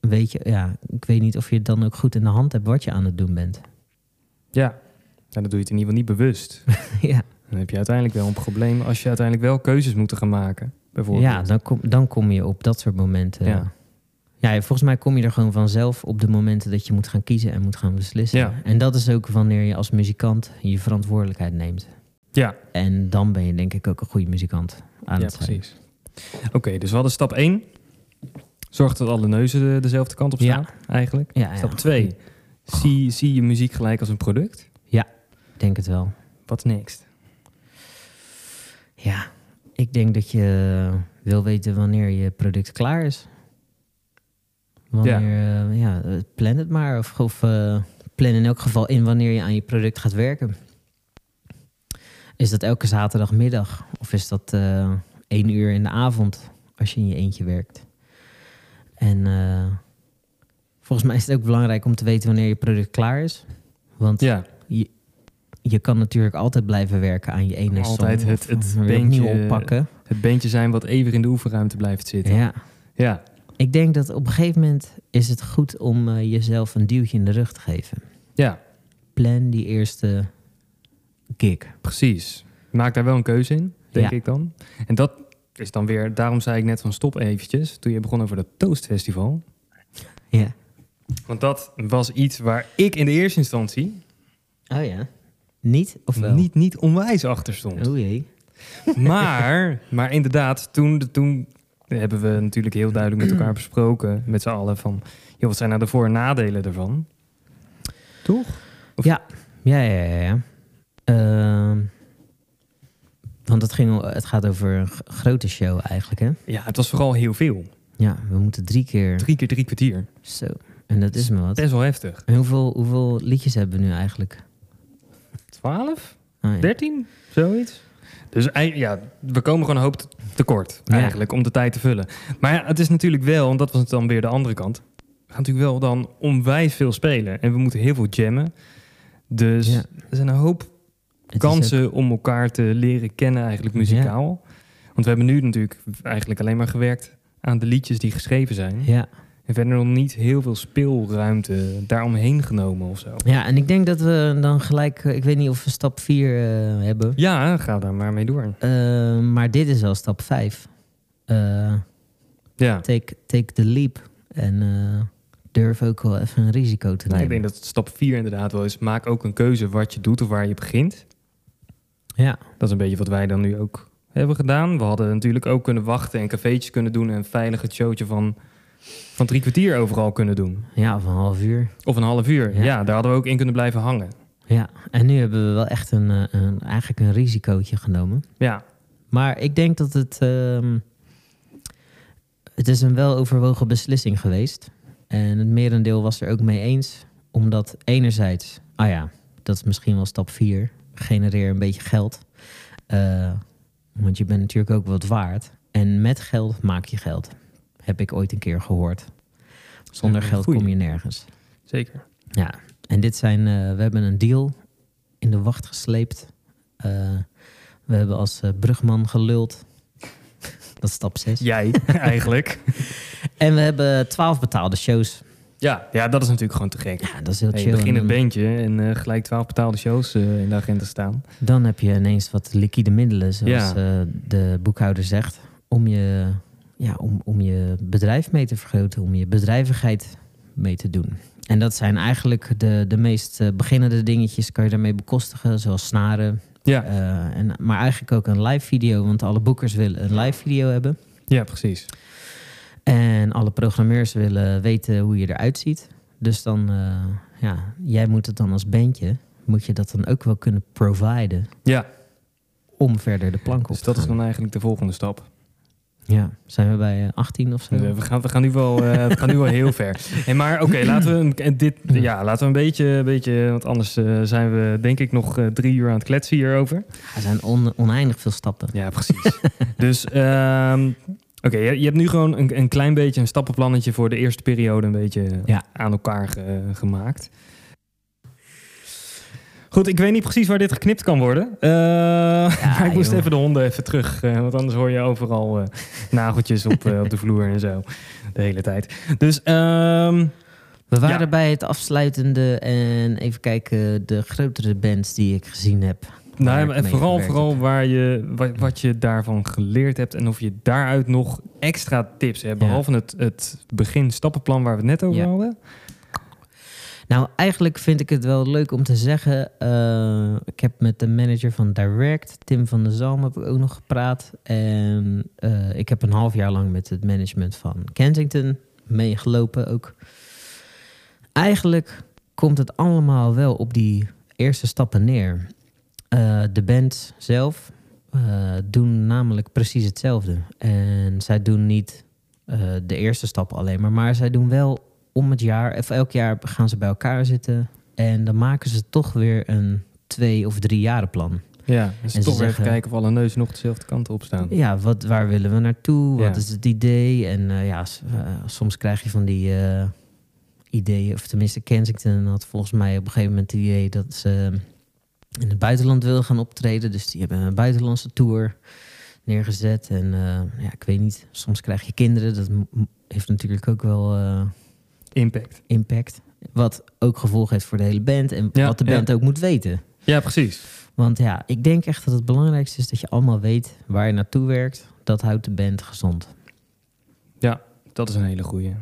B: weet je, ja, ik weet niet of je het dan ook goed in de hand hebt wat je aan het doen bent.
A: Ja, en dat doe je het in ieder geval niet bewust.
B: *laughs* ja,
A: Dan heb je uiteindelijk wel een probleem als je uiteindelijk wel keuzes moet gaan maken. Bijvoorbeeld.
B: ja dan, kom, dan kom je op dat soort momenten.
A: Ja.
B: Ja. ja, volgens mij kom je er gewoon vanzelf op de momenten dat je moet gaan kiezen en moet gaan beslissen.
A: Ja.
B: En dat is ook wanneer je als muzikant je verantwoordelijkheid neemt.
A: ja,
B: En dan ben je denk ik ook een goede muzikant aan
A: ja,
B: het zijn.
A: precies. Oké, dus we hadden stap 1. Zorg dat alle neuzen de- dezelfde kant op staan, eigenlijk.
B: Ja, ja,
A: Stap 2. Zie, zie je muziek gelijk als een product.
B: ik denk het wel.
A: Wat next?
B: Ja, ik denk dat je wil weten wanneer je product klaar is. Wanneer, ja, ja eh, plan het maar. Of, of eh, plan in elk geval in wanneer je aan je product gaat werken. Is dat elke zaterdagmiddag? Of is dat eh één uur in de avond als je in je eentje werkt? En eh, volgens mij is het ook belangrijk om te weten wanneer je product klaar is. Want
A: Ja,
B: je kan natuurlijk altijd blijven werken aan je ene song.
A: Altijd het-
B: Of
A: het
B: weer opnieuw
A: beentje-
B: oppakken.
A: het beentje zijn wat even in de oefenruimte blijft zitten.
B: Ja.
A: ja.
B: Ik denk dat op een gegeven moment is het goed om eh, jezelf een duwtje in de rug te geven.
A: ja.
B: Plan die eerste gig.
A: Precies. Maak daar wel een keuze in, denk
B: Ja.
A: ik dan. En dat is dan weer, daarom zei ik net van stop eventjes, toen je begon over dat Toast Festival.
B: Ja.
A: Want dat was iets waar ik in de eerste instantie
B: Oh ja. Niet of wel?
A: niet, niet onwijs achter stond.
B: Oh jee.
A: *laughs* Maar, maar inderdaad, toen, toen hebben we natuurlijk heel duidelijk met elkaar besproken, met z'n allen, van joh, wat zijn nou de voor- en nadelen ervan? Toch? Of-
B: Ja. Ja, ja, ja. ja. Ehm, want het, ging, het gaat over een g- grote show eigenlijk, hè?
A: Ja, het was vooral heel veel.
B: Ja, we moeten drie keer...
A: Drie keer drie kwartier.
B: Zo. En dat is me wat.
A: Best wel heftig.
B: En hoeveel, hoeveel liedjes hebben we nu eigenlijk?
A: Twaalf?
B: Oh ja.
A: 13, zoiets. Dus ei- ja, we komen gewoon een hoop te- tekort
B: Ja.
A: eigenlijk om de tijd te vullen. Maar ja, het is natuurlijk wel, en dat was het dan weer de andere kant. We gaan natuurlijk wel dan onwijs veel spelen en we moeten heel veel jammen. Dus
B: Ja.
A: er zijn een hoop
B: Het is
A: kansen om elkaar te leren kennen eigenlijk muzikaal. Want we hebben nu natuurlijk eigenlijk alleen maar gewerkt aan de liedjes die geschreven zijn.
B: ook- Ja.
A: En verder nog niet heel veel speelruimte daaromheen genomen of zo.
B: ja, en ik denk dat we dan gelijk... eh, Ik weet niet of we stap 4 hebben.
A: Ja, ga daar maar mee door.
B: Eh, maar dit is wel stap 5.
A: Ja.
B: take, take the leap. En eh, durf ook wel even een risico te
A: Nou,
B: nemen.
A: ik denk dat stap 4 inderdaad wel is. Maak ook een keuze wat je doet of waar je begint.
B: Ja,
A: Dat is een beetje wat wij dan nu ook hebben gedaan. We hadden natuurlijk ook kunnen wachten en cafeetjes kunnen doen... en een veilig het showtje van, van drie kwartier overal kunnen doen.
B: ja, of een half uur.
A: Of een half uur. Ja,
B: Ja.
A: daar hadden we ook in kunnen blijven hangen.
B: Ja, en nu hebben we wel echt een, eh, een, eigenlijk een risicootje genomen.
A: Ja,
B: Maar ik denk dat het... ehm, het is een weloverwogen beslissing geweest. En het merendeel was er ook mee eens. Omdat enerzijds... Ah ja, dat is misschien wel stap 4. Genereer een beetje geld. Eh, want je bent natuurlijk ook wat waard. En met geld maak je geld. Heb ik ooit een keer gehoord. Zonder
A: Ja,
B: geld
A: goeie.
B: kom je nergens.
A: zeker.
B: Ja, en dit zijn, eh, we hebben een deal in de wacht gesleept. Eh, we hebben als eh, brugman geluld. *laughs* Dat is stap 6.
A: Jij *laughs* eigenlijk.
B: En we hebben 12 betaalde shows.
A: Ja, ja, dat is natuurlijk gewoon te gek.
B: Ja, dat is heel
A: Hey,
B: chill.
A: je begint
B: En
A: het
B: dan,
A: bandje en eh, gelijk 12 betaalde shows eh, in de agenda staan.
B: dan heb je ineens wat liquide middelen, zoals
A: Ja.
B: eh, de boekhouder zegt, om je, ja, om, om je bedrijf mee te vergroten, om je bedrijvigheid mee te doen. En dat zijn eigenlijk de, de meest eh, beginnende dingetjes, kan je daarmee bekostigen, zoals snaren,
A: Ja,
B: Eh, en, maar eigenlijk ook een live video, want alle boekers willen een live video hebben.
A: ja precies.
B: En alle programmeurs willen weten hoe je eruit ziet. Dus dan, eh, ja, jij moet het dan als bandje, moet je dat dan ook wel kunnen providen
A: Ja,
B: om verder de plank op
A: dus
B: te
A: dat is
B: gaan.
A: dan eigenlijk de volgende stap.
B: Ja, zijn we bij eh, 18 of zo?
A: We, we gaan, we, gaan nu wel, eh, we gaan nu wel heel ver. Hey, maar oké, laten we, een, en dit, ja, laten we een beetje, een beetje want anders eh, zijn we denk ik nog eh, drie uur aan het kletsen hierover.
B: Er zijn on- oneindig veel stappen.
A: Ja,
B: *laughs*
A: precies. dus ehm, oké, je, je hebt nu gewoon een, een klein beetje een stappenplannetje voor de eerste periode een beetje
B: Ja.
A: aan elkaar ge- gemaakt. Goed, ik weet niet precies waar dit geknipt kan worden. Eh, *laughs* maar ik moest
B: joh.
A: even de honden even terug. eh, want anders hoor je overal eh, nageltjes op, eh, op de vloer en zo. De hele tijd. Dus ehm,
B: We
A: Ja.
B: waren bij het afsluitende en even kijken de grotere bands die ik gezien heb. Waar
A: nou, ja,
B: ik
A: maar
B: mee
A: vooral,
B: gewerkt
A: vooral
B: heb.
A: waar je, wat, wat je daarvan geleerd hebt. En of je daaruit nog extra tips hebt.
B: Ja.
A: Behalve het, het begin stappenplan waar we het net over
B: Ja.
A: hadden.
B: Nou, eigenlijk vind ik het wel leuk om te zeggen. eh, ik heb met de manager van Direct, Tim van der Zalm, heb ik ook nog gepraat. En eh, ik heb een half jaar lang met het management van Kensington meegelopen ook. Eigenlijk komt het allemaal wel op die eerste stappen neer. Eh, de band zelf eh, doen namelijk precies hetzelfde. En zij doen niet eh, de eerste stappen alleen maar, maar zij doen wel om het jaar, of elk jaar gaan ze bij elkaar zitten. En dan maken ze toch weer een twee of drie jaren plan.
A: Ja, dus
B: En ze
A: toch weer even
B: zeggen-
A: kijken of alle neuzen nog dezelfde kant op staan.
B: Ja, wat, waar willen we naartoe? Wat
A: Ja.
B: is het idee? En eh, ja, s- eh, soms krijg je van die eh, ideeën, of tenminste Kensington had volgens mij op een gegeven moment het idee dat ze in het buitenland willen gaan optreden. Dus die hebben een buitenlandse tour neergezet. En eh, ja, ik weet niet, soms krijg je kinderen. Dat m- m- heeft natuurlijk ook wel... eh,
A: Impact.
B: impact. Wat ook gevolg heeft voor de hele band en
A: Ja,
B: wat de band ook moet weten.
A: Ja, precies.
B: Want ja, ik denk echt dat het belangrijkste is dat je allemaal weet waar je naartoe werkt. Dat houdt de band gezond.
A: Dat is een hele goeie.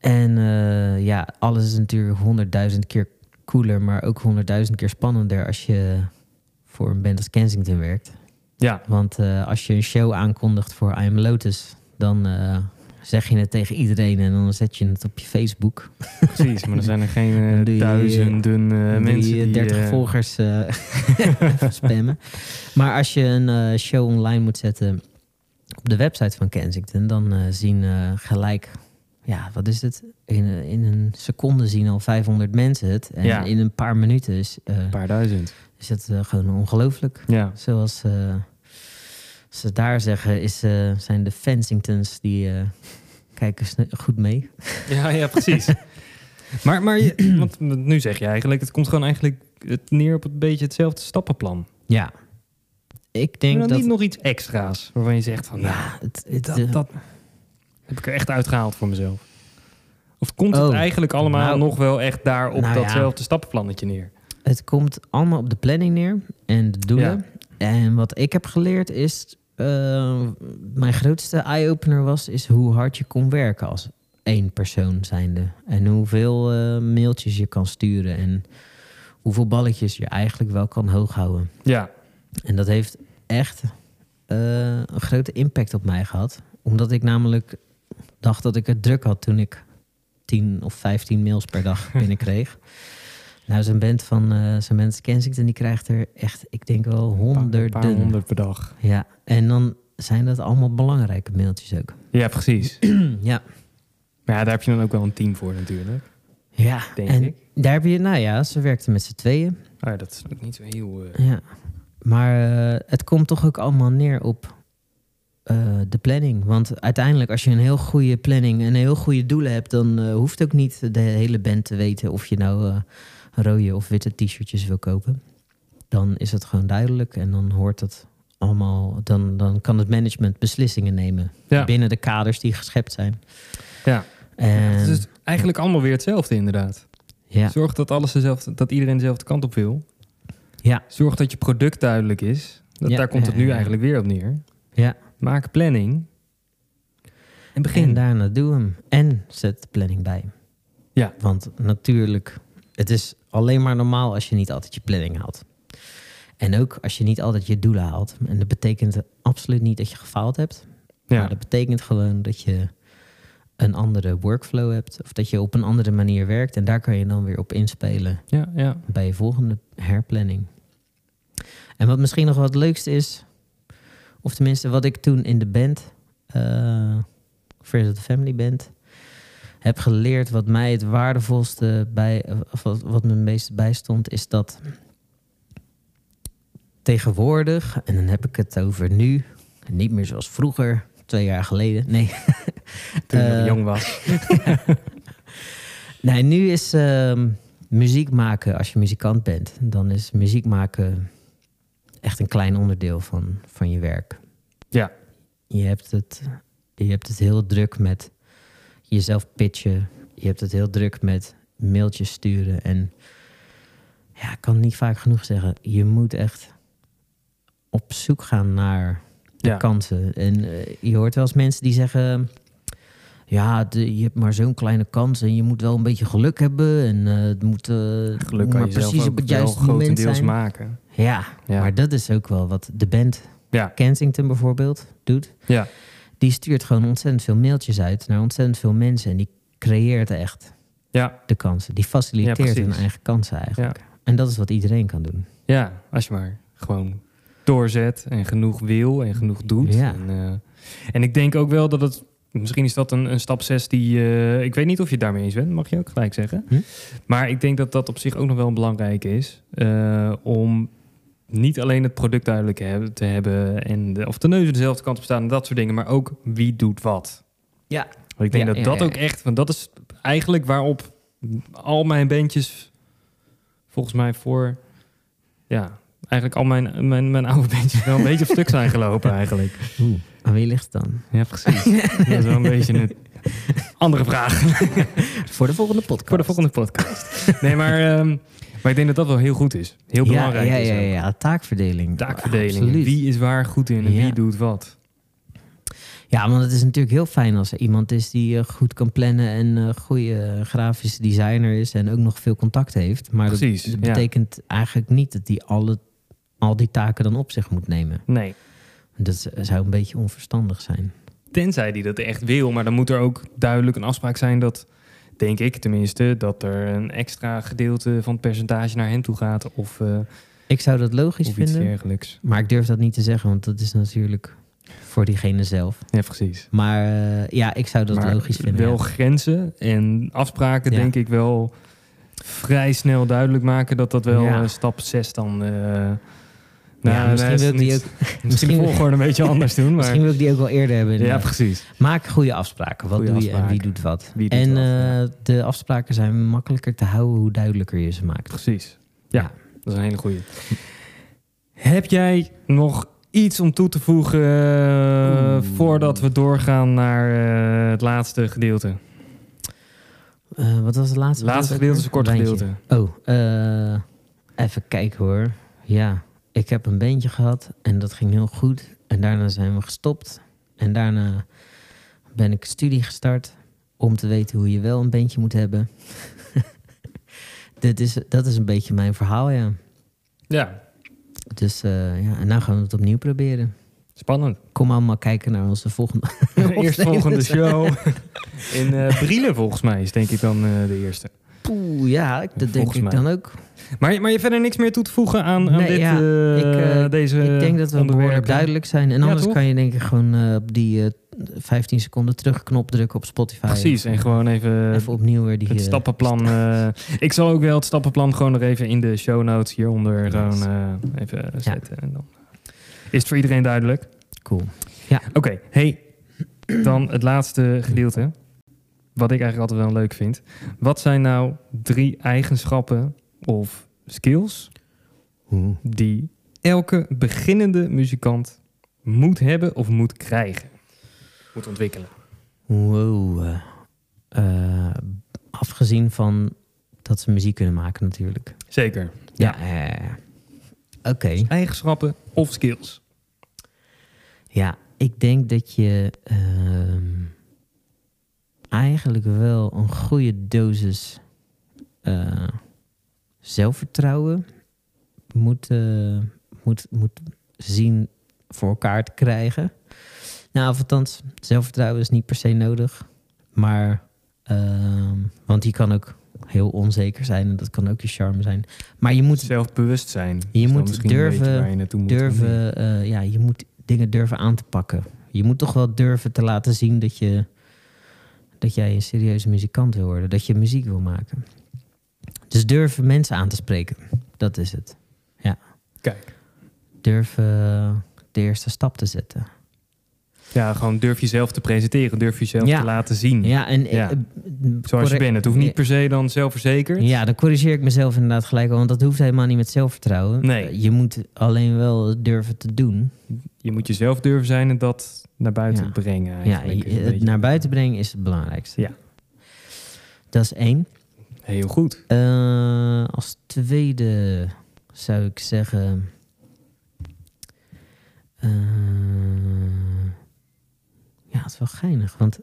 B: En eh, ja, alles is natuurlijk honderdduizend keer cooler, maar ook honderdduizend keer spannender als je voor een band als Kensington werkt.
A: Ja,
B: Want eh, als je een show aankondigt voor I Am Lotus, dan eh, zeg je het tegen iedereen en dan zet je het op je Facebook. *laughs*
A: precies. Maar er zijn er geen eh,
B: Dan doe je, eh,
A: duizenden eh, mensen
B: die,
A: die...
B: eh, 30
A: eh, *laughs*
B: volgers eh, spammen. Maar als je een eh, show online moet zetten op de website van Kensington, dan eh, zien eh, gelijk, ja, wat is het? In, eh, in een seconde zien al 500 mensen het. En
A: Ja.
B: in een paar minuten is, eh,
A: Een paar duizend.
B: is het eh, gewoon ongelooflijk. *laughs*
A: Ja.
B: Zoals eh, ze daar zeggen, is, eh, zijn de Fensingtons die eh, kijken sne- goed mee.
A: Ja, ja, precies. maar maar je- *clears throat* want nu zeg je eigenlijk, het komt gewoon eigenlijk het neer op een beetje hetzelfde stappenplan.
B: Ja. Ik
A: Denk
B: denk
A: dan
B: dat...
A: niet nog iets extra's waarvan je zegt van, nou,
B: ja, het, het, eh,
A: dat, dat heb ik er echt uitgehaald voor mezelf. Of komt het
B: Oh,
A: eigenlijk allemaal
B: nou,
A: nog wel echt daar op
B: nou ja.
A: datzelfde stappenplannetje neer?
B: Het komt allemaal op de planning neer en de doelen. En wat ik heb geleerd is, eh, mijn grootste eye-opener was, is hoe hard je kon werken als één persoon zijnde. En hoeveel eh, mailtjes je kan sturen en hoeveel balletjes je eigenlijk wel kan hooghouden.
A: Ja,
B: En dat heeft echt eh, een grote impact op mij gehad. Omdat ik namelijk dacht dat ik het druk had toen ik 10 of 15 mails per
A: *laughs*
B: dag binnenkreeg. nou, zo'n band van eh zo'n mensen Kensington, die krijgt er echt, ik denk wel
A: een paar
B: honderden.
A: honderd per dag.
B: Ja, en dan zijn dat allemaal belangrijke mailtjes ook.
A: Ja, precies. *clears throat*
B: ja.
A: Maar ja, daar heb je dan ook wel een team voor natuurlijk.
B: Ja,
A: Denk
B: en
A: ik.
B: daar heb je, nou ja, ze werkten met z'n tweeën.
A: Ah, ja, dat is ook niet zo heel... eh,
B: Ja, maar eh, het komt toch ook allemaal neer op eh, de planning. Want uiteindelijk, als je een heel goede planning en heel goede doelen hebt, dan eh, hoeft ook niet de hele band te weten of je nou eh, rode of witte t-shirtjes wil kopen. Dan is het gewoon duidelijk en dan hoort dat allemaal. Dan, dan kan het management beslissingen nemen
A: Ja.
B: binnen de kaders die geschept zijn.
A: Ja.
B: En,
A: Dus Het is eigenlijk allemaal weer hetzelfde inderdaad.
B: ja,
A: Zorg dat, alles dezelfde, dat iedereen dezelfde kant op wil.
B: Ja.
A: Zorg dat je product duidelijk is. Dat,
B: Ja,
A: daar komt het
B: ja,
A: nu
B: ja.
A: eigenlijk weer op neer.
B: Ja.
A: Maak planning. En begin.
B: En daarna doe hem. En zet de planning bij.
A: Ja.
B: Want natuurlijk, het is alleen maar normaal als je niet altijd je planning haalt. En ook als je niet altijd je doelen haalt. En dat betekent absoluut niet dat je gefaald hebt. Maar
A: ja.
B: dat betekent gewoon dat je een andere workflow hebt. Of dat je op een andere manier werkt. En daar kan je dan weer op inspelen
A: Ja, ja.
B: bij je volgende herplanning. En wat misschien nog wel het leukste is, Of tenminste, wat ik toen in de band, eh Friends of the Family Band, heb geleerd. Wat mij het waardevolste bij, of wat, wat me het meest bijstond, is dat tegenwoordig, en dan heb ik het over nu, niet meer zoals vroeger, twee jaar geleden. Nee.
A: Toen je nog
B: Eh,
A: jong was.
B: Nee, nu is ehm, muziek maken, als je muzikant bent, dan is muziek maken echt een klein onderdeel van, van je werk.
A: Ja.
B: Je hebt, het, je hebt het heel druk met jezelf pitchen. Je hebt het heel druk met mailtjes sturen. En ja, ik kan het niet vaak genoeg zeggen. Je moet echt op zoek gaan naar de
A: Ja.
B: kansen. En eh, je hoort wel eens mensen die zeggen... Ja, de- je hebt maar zo'n kleine kans en je moet wel een beetje geluk hebben. En eh, het moet, eh, het moet
A: Geluk kan
B: maar
A: je zelf
B: precies op
A: ook
B: het
A: wel
B: juiste moment
A: grotendeels
B: zijn.
A: maken.
B: Ja,
A: Ja.
B: maar dat is ook wel wat de band
A: Ja.
B: Kensington bijvoorbeeld doet.
A: Ja.
B: Die stuurt gewoon ontzettend veel mailtjes uit naar ontzettend veel mensen. En die creëert echt
A: Ja.
B: de kansen. Die
A: Ja,
B: faciliteert
A: precies.
B: hun eigen kansen eigenlijk. En dat is wat iedereen kan doen.
A: ja, als je maar gewoon doorzet en genoeg wil en genoeg doet.
B: Ja.
A: En, eh, en ik denk ook wel dat het... Misschien is dat een, een stap 6 die... eh, ik weet niet of je het daarmee eens bent, mag je ook gelijk zeggen.
B: Hm?
A: Maar ik denk dat dat op zich ook nog wel belangrijk is. eh, om niet alleen het product duidelijk he- te hebben... En de, of de neuzen dezelfde kant op staan en dat soort dingen... maar ook wie doet wat.
B: Ja.
A: Want ik denk
B: Ja,
A: dat
B: ja,
A: dat
B: ja,
A: ook
B: ja.
A: echt... Want dat is eigenlijk waarop al mijn bandjes... volgens mij voor... ja, eigenlijk al mijn, mijn, mijn oude bandjes... wel een beetje op stuk zijn gelopen eigenlijk.
B: Oeh, aan wie ligt het dan?
A: Ja, precies. *laughs* dat is wel een beetje een andere vraag
B: Voor de volgende podcast.
A: voor de volgende podcast. *laughs* Nee, maar, ehm, maar ik denk dat dat wel heel goed is. Heel belangrijk
B: ja,
A: is.
B: ja,
A: ook.
B: ja, ja, taakverdeling.
A: Taakverdeling.
B: Absoluut.
A: Wie is waar goed in en
B: Ja.
A: wie doet wat.
B: Ja, want het is natuurlijk heel fijn als er iemand is die eh, goed kan plannen en eh goede grafisch designer is en ook nog veel contact heeft. Maar dat,
A: Precies,
B: dat
A: ja.
B: betekent eigenlijk niet dat hij alle, al die taken dan op zich moet nemen.
A: Nee.
B: Dat z- zou een beetje onverstandig zijn.
A: Tenzij die dat echt wil, maar dan moet er ook duidelijk een afspraak zijn dat, denk ik tenminste, dat er een extra gedeelte van het percentage naar hem toe gaat of, eh,
B: Ik zou dat logisch
A: of iets
B: vinden,
A: dergelijks.
B: maar ik durf dat niet te zeggen, want dat is natuurlijk voor diegene zelf.
A: Ja, precies.
B: Maar eh, ja, ik zou dat
A: Maar
B: logisch vinden.
A: Wel
B: ja.
A: grenzen en afspraken,
B: Ja.
A: denk ik wel vrij snel duidelijk maken dat dat wel
B: Ja.
A: eh, stap 6 dan. eh,
B: Ja,
A: nou,
B: misschien,
A: is
B: wil ik die
A: niet- *laughs*
B: ook, *laughs*
A: misschien
B: misschien-
A: volgorde een
B: *laughs*
A: beetje anders doen. Maar,
B: misschien wil ik die ook wel eerder hebben.
A: ja,
B: inderdaad.
A: precies.
B: Maak goede afspraken. Wat
A: Goede
B: doe je en wie
A: afspraken.
B: doet wat?
A: Wie doet
B: En
A: wat, ja.
B: eh, de afspraken zijn makkelijker te houden hoe duidelijker je ze maakt.
A: Precies. Ja, dat is een hele goeie. Heb jij nog iets om toe te voegen eh,
B: Oeh.
A: voordat we doorgaan naar eh, het laatste gedeelte?
B: Eh, wat was het
A: Het
B: laatste?
A: laatste gedeelte is een kort
B: Wijntje.
A: gedeelte.
B: Oh, eh, even kijken hoor. Ja, ik heb een bandje gehad en dat ging heel goed. En daarna zijn we gestopt. En daarna ben ik een studie gestart om te weten hoe je wel een bandje moet hebben. *laughs* Dit is, dat is een beetje mijn verhaal, ja.
A: Ja,
B: Dus eh, ja, en nou gaan we het opnieuw proberen.
A: spannend.
B: Kom allemaal kijken naar onze volgende. *laughs*
A: Eerst *laughs* volgende show *laughs* in eh Brielen volgens mij is denk ik dan eh, de eerste.
B: Poeh, ja, ik- dat denk
A: Volgens
B: ik
A: mij.
B: dan ook.
A: Maar, maar je hebt verder niks meer toe te voegen aan, aan
B: Nee,
A: dit,
B: ja,
A: eh,
B: ik, eh,
A: deze
B: ik denk dat we behoorlijk
A: onderwerpen?
B: duidelijk zijn. En
A: Ja,
B: anders
A: toch?
B: kan je denk ik gewoon eh, op die eh, 15 seconden terugknop drukken op Spotify.
A: Precies, en gewoon even,
B: Even opnieuw weer die...
A: het
B: eh,
A: stappenplan. eh, ik zal ook wel het stappenplan gewoon nog even in de show notes hieronder
B: Nice.
A: gewoon eh, even zetten. En dan is het voor iedereen duidelijk.
B: cool.
A: Oké, hey, dan het laatste gedeelte. Wat ik eigenlijk altijd wel leuk vind. Wat zijn nou drie eigenschappen of skills
B: Hmm.
A: die elke beginnende muzikant moet hebben of moet krijgen? Moet ontwikkelen.
B: Wow. eh, eh, afgezien van dat ze muziek kunnen maken natuurlijk.
A: Zeker.
B: Ja. eh, Oké.
A: Eigenschappen of skills.
B: Ja, ik denk dat je ehm, eigenlijk wel een goede dosis eh, zelfvertrouwen moet, eh, moet, moet zien voor elkaar te krijgen. Nou, of althans, zelfvertrouwen is niet per se nodig. Maar, ehm, want die kan ook heel onzeker zijn en dat kan ook je charme zijn. Maar je moet
A: Zelfbewust zijn. Dus
B: Je moet durven-
A: naartoe moet.
B: durven, eh, ja, je moet dingen durven aan te pakken. Je moet toch wel durven te laten zien dat, je, dat jij een serieuze muzikant wil worden. Dat je muziek wil maken. Dus durven mensen aan te spreken. Dat is het. Ja.
A: Kijk.
B: Durven de eerste stap te zetten.
A: Ja, gewoon durf jezelf te presenteren. Durf jezelf
B: Ja.
A: te laten zien.
B: Ja, en
A: Hmm. Ja.
B: eh,
A: Zoals je
B: corre- eh,
A: bent. Het hoeft niet per se dan zelfverzekerd.
B: Ja, dan corrigeer ik mezelf inderdaad gelijk al, want dat hoeft helemaal niet met zelfvertrouwen. Eh,
A: Nee.
B: Je moet alleen wel durven te doen.
A: Je moet jezelf durven zijn en dat naar buiten
B: Ja.
A: brengen.
B: Ja,
A: Eigenlijk.
B: je-
A: Is een
B: het
A: beetje-
B: naar buiten brengen is het belangrijkste.
A: Ja.
B: Dat is één.
A: Heel goed.
B: Eh, als tweede zou ik zeggen. eh, ja, het is wel geinig. Want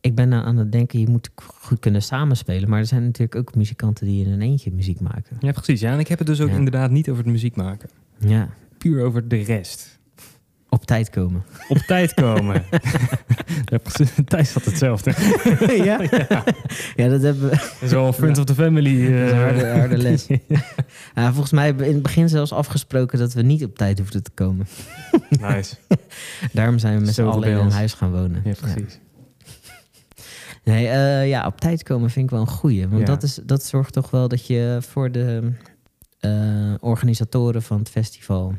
B: ik ben nou aan het denken, je moet goed kunnen samenspelen. Maar er zijn natuurlijk ook muzikanten die in hun eentje muziek maken.
A: Ja, precies. Ja, en ik heb het dus ook
B: Ja.
A: inderdaad niet over het muziek maken.
B: Ja,
A: Puur over de rest.
B: op tijd
A: *laughs*
B: komen. *laughs*
A: Op tijd komen. ja, precies. Thijs had hetzelfde.
B: ja? *laughs* ja. dat hebben we.
A: Dat is wel een friend of the family. eh.
B: Dat is een harde, harde
A: *laughs*
B: les. Ja, volgens mij hebben we in het begin zelfs afgesproken dat we niet op tijd hoefden te komen. *laughs*
A: nice.
B: Daarom zijn we met z'n
A: Zo
B: allen in een
A: rebels.
B: huis gaan wonen.
A: Ja, precies.
B: Nee, eh, ja, op tijd komen vind ik wel een goeie. Want
A: Ja.
B: dat, is, dat zorgt toch wel dat je voor de eh, organisatoren van het festival...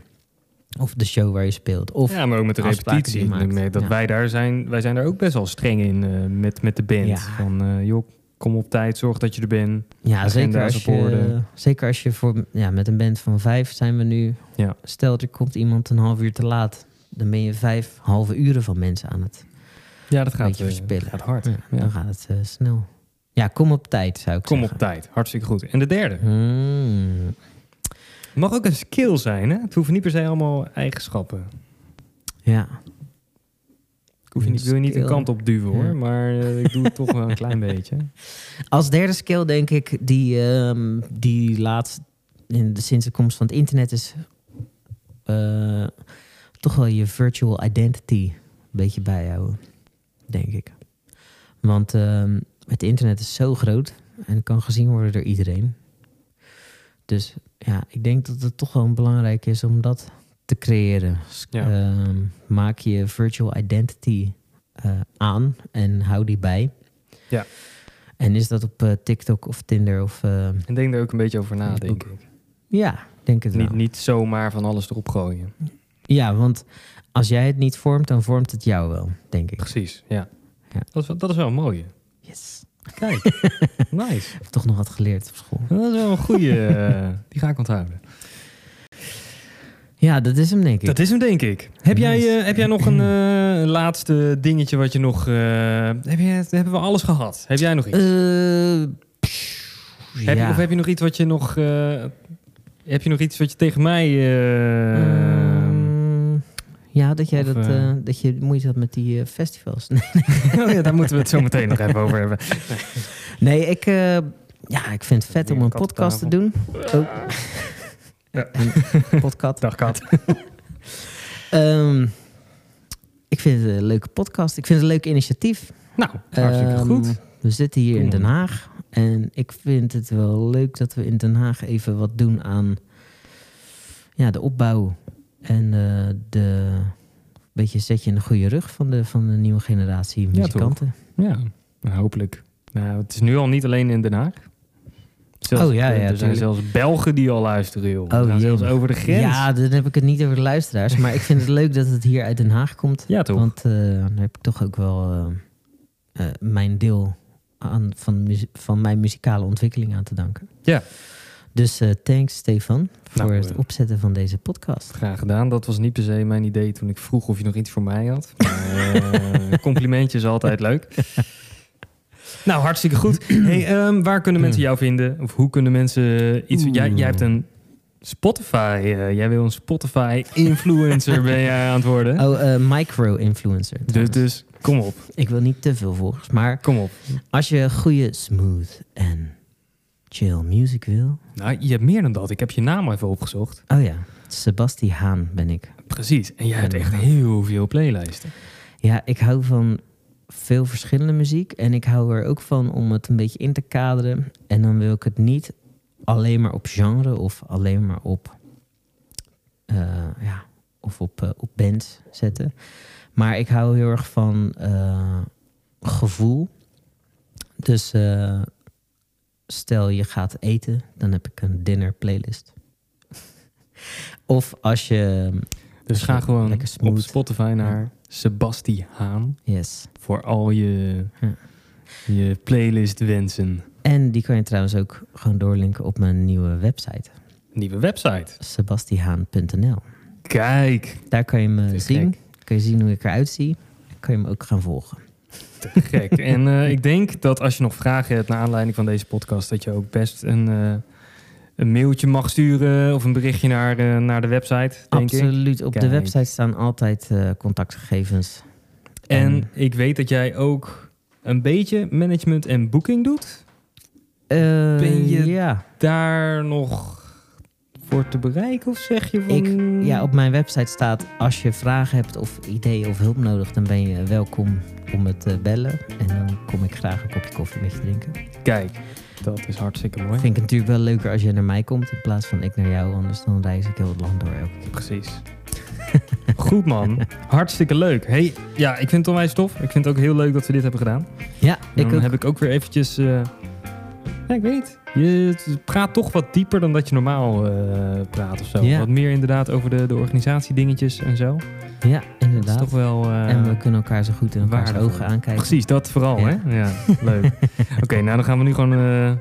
B: of de show waar je speelt, of
A: ja, maar ook met de
B: afspraken
A: repetitie.
B: die je maakt.
A: Met Dat
B: Ja.
A: wij daar zijn, wij zijn daar ook best wel streng in eh, met, met de band.
B: Ja.
A: Van eh, joh, kom op tijd, zorg dat je er bent.
B: Ja,
A: Agenda
B: zeker als,
A: is op
B: je,
A: orde.
B: zeker als je voor, ja, met een band van vijf zijn we nu.
A: Ja.
B: Stel, er komt iemand een half uur te laat. Dan ben je vijf halve uren van mensen aan het.
A: Ja, dat gaat,
B: Beetje
A: eh,
B: verspillen.
A: gaat hard.
B: Ja, Dan gaat het eh, snel. Ja, kom op tijd, zou ik
A: Kom op
B: zeggen.
A: tijd, hartstikke goed. En de derde.
B: Hmm.
A: Het mag ook een skill zijn, hè? Het hoeft niet per se allemaal eigenschappen.
B: Ja.
A: Ik hoef je niet, wil je niet een
B: Skill.
A: kant op duwen,
B: Ja.
A: hoor. Maar eh, ik doe het toch wel een
B: *laughs*
A: klein beetje.
B: Als derde skill denk ik die, ehm, die laatst in de, sinds de komst van het internet is eh, toch wel je virtual identity een beetje bijhouden, denk ik. Want ehm, het internet is zo groot en kan gezien worden door iedereen. Dus ja, ik denk dat het toch wel belangrijk is om dat te creëren. S-
A: Ja.
B: ehm, maak je virtual identity eh, aan en hou die bij.
A: Ja.
B: En is dat op eh, TikTok of Tinder of... eh,
A: En denk er ook een beetje over na, denk
B: Facebook.
A: ik.
B: ja, ik denk het
A: Niet,
B: wel.
A: niet zomaar van alles erop gooien.
B: Ja, want als jij het niet vormt, dan vormt het jou wel, denk ik.
A: Precies, ja.
B: Ja.
A: Dat, is, wel- dat is wel een
B: *laughs*
A: mooie.
B: Yes.
A: Kijk, nice.
B: Ik heb toch nog wat geleerd op school.
A: Dat is wel een goede. die ga ik onthouden.
B: Ja, dat is hem, denk ik.
A: Dat is hem, denk ik. Heb, jij,
B: Nice.
A: eh, heb jij
B: *clears throat*
A: nog een eh, laatste dingetje wat je nog... eh, heb je, hebben we alles gehad? Heb jij nog iets?
B: Eh, pff,
A: heb je,
B: ja.
A: of heb je nog iets wat je nog... eh, heb je nog iets wat je tegen mij... eh,
B: Ehm, ja, dat jij
A: of,
B: dat,
A: eh,
B: eh, dat je moeite had met die eh, festivals.
A: *laughs*
B: *laughs*
A: oh ja, daar moeten we het zo meteen nog even over hebben.
B: nee, ik, eh, ja, ik vind het vet
A: Weer een
B: om een
A: kat op
B: podcast te doen. Oh.
A: *laughs* Ja.
B: *laughs* Een podcast.
A: Dag Kat.
B: *laughs* Ehm, ik vind het een leuke podcast. Ik vind het een leuk initiatief.
A: Nou, hartstikke
B: Ehm,
A: goed.
B: We zitten hier in
A: Cool.
B: Den Haag. En ik vind het wel leuk dat we in Den Haag even wat doen aan ja, de opbouw. En eh, de beetje zetje in de goede rug van de, van de nieuwe generatie
A: toch?
B: muzikanten.
A: Ja, nou, hopelijk. Nou, het is nu al niet alleen in Den Haag. Zelfs,
B: Oh, ja, ja,
A: er zijn
B: tuurlijk.
A: zelfs Belgen die al luisteren, joh. We gaan zelfs
B: jemig.
A: over de grens.
B: Ja, dan heb ik het niet over de luisteraars. Maar ik vind het leuk dat het hier uit Den Haag komt.
A: Ja, toch?
B: Want eh, dan heb ik toch ook wel eh, eh, mijn deel aan, van, muzie- van mijn muzikale ontwikkeling aan te danken.
A: Ja.
B: Dus eh, thanks Stefan voor
A: Nou,
B: het
A: eh,
B: opzetten van deze podcast.
A: Graag gedaan. Dat was niet per se mijn idee toen ik vroeg of je nog iets voor mij had. Maar eh, *laughs* een complimentje is altijd leuk. *laughs* Nou, hartstikke goed. Hey, ehm, waar kunnen mensen jou vinden? Of hoe kunnen mensen iets... Jij, jij hebt een Spotify. eh, jij wil een Spotify-influencer ben jij aan het worden.
B: Oh, eh, micro-influencer.
A: dus,
B: trouwens.
A: dus kom op,
B: Ik wil niet te veel volgers, maar
A: kom op.
B: als je goede, smooth en chill music wil.
A: Nou, je hebt meer dan dat. Ik heb je naam even opgezocht.
B: Oh ja, Sebasti Haan ben ik.
A: Precies. En eh, jij hebt echt heel veel playlijsten.
B: Ja, ik hou van veel verschillende muziek. En ik hou er ook van om het een beetje in te kaderen. En dan wil ik het niet alleen maar op genre of alleen maar op eh, ja, of op, eh, op bands zetten. Maar ik hou heel erg van eh, gevoel. Dus eh, stel je gaat eten, dan heb ik een dinner playlist. *laughs* of als je...
C: Dus ga gewoon
B: Lekker smooth.
C: op Spotify naar Sebasti Haan
B: Yes.
C: voor al je,
B: Ja.
C: je playlist wensen.
B: En die kan je trouwens ook gewoon doorlinken op mijn nieuwe website.
C: Nieuwe website.
B: sebastiaan.nl.
C: Kijk,
B: Daar kan je
C: Te
B: me
C: gek.
B: zien. Kan je zien hoe ik eruit zie. En kan je me ook gaan volgen.
C: te *laughs* gek. en eh, ik denk dat als je nog vragen hebt naar aanleiding van deze podcast, dat je ook best een, eh, een mailtje mag sturen of een berichtje naar, eh, naar de website. Denk ik.
B: Absoluut. Op de
C: Kijk.
B: website staan altijd eh, contactgegevens.
C: En ik weet dat jij ook een beetje management en boeking doet.
B: Eh,
C: Ben je-
B: ja.
C: Daar nog voor te bereiken of zeg je van...
B: Ik, ja, op mijn website staat als je vragen hebt of ideeën of hulp nodig, dan ben je welkom om me te bellen. En dan kom ik graag een kopje koffie met je drinken.
C: Kijk, dat is hartstikke mooi.
B: Vind ik natuurlijk wel leuker als je naar mij komt in plaats van ik naar jou. Anders dan reis ik heel het land door elke keer.
C: Precies. *laughs* Goed man, hartstikke leuk. Hey, ja, ik vind het onwijs tof. Ik vind het ook heel leuk dat we dit hebben gedaan.
B: Ja,
C: Dan
B: ik ook.
C: heb ik ook weer eventjes... eh, ja, ik weet niet. Je praat toch wat dieper dan dat je normaal eh, praat of zo.
B: Ja.
C: Wat meer inderdaad over de, de organisatie-dingetjes en zo.
B: Ja,
C: Dat is
B: inderdaad.
C: toch wel... eh,
B: En we kunnen elkaar zo goed in elkaars
C: waardevol.
B: ogen aankijken.
C: Precies, dat vooral,
B: Ja.
C: hè? Ja,
B: *laughs*
C: leuk. Oké, nou dan gaan we nu gewoon eh,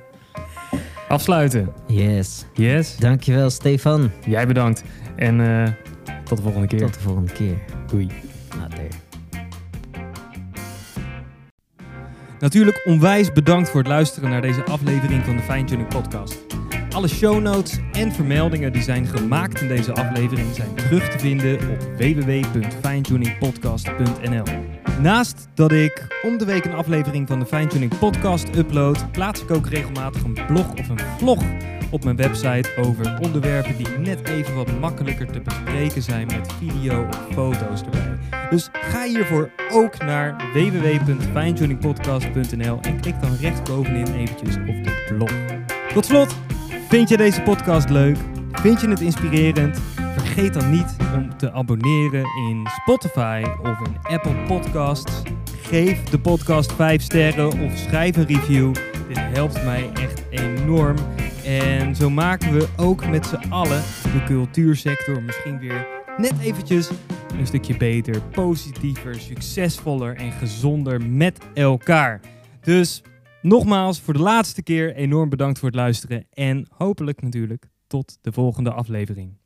C: afsluiten.
B: Yes.
C: Yes,
B: Dankjewel, Stefan.
C: jij bedankt. En eh, tot de volgende keer.
B: Tot de volgende keer.
C: Doei.
B: Later.
A: Natuurlijk onwijs bedankt voor het luisteren naar deze aflevering van de Fijntuning Podcast. Alle show notes en vermeldingen die zijn gemaakt in deze aflevering zijn terug te vinden op www.fijntuningpodcast.nl. Naast dat ik om de week een aflevering van de Fijntuning Podcast upload, plaats ik ook regelmatig een blog of een vlog op mijn website over onderwerpen die net even wat makkelijker te bespreken zijn met video of foto's erbij. Dus ga hiervoor ook naar www.fijntuningpodcast.nl en klik dan rechtsbovenin eventjes op de blog. Tot slot, vind je deze podcast leuk? Vind je het inspirerend? Vergeet dan niet om te abonneren in Spotify of in Apple Podcasts. Geef de podcast 5 sterren of schrijf een review. Dit helpt mij echt enorm. En zo maken we ook met z'n allen de cultuursector misschien weer net eventjes een stukje beter, positiever, succesvoller en gezonder met elkaar. Dus nogmaals, voor de laatste keer enorm bedankt voor het luisteren en hopelijk natuurlijk tot de volgende aflevering.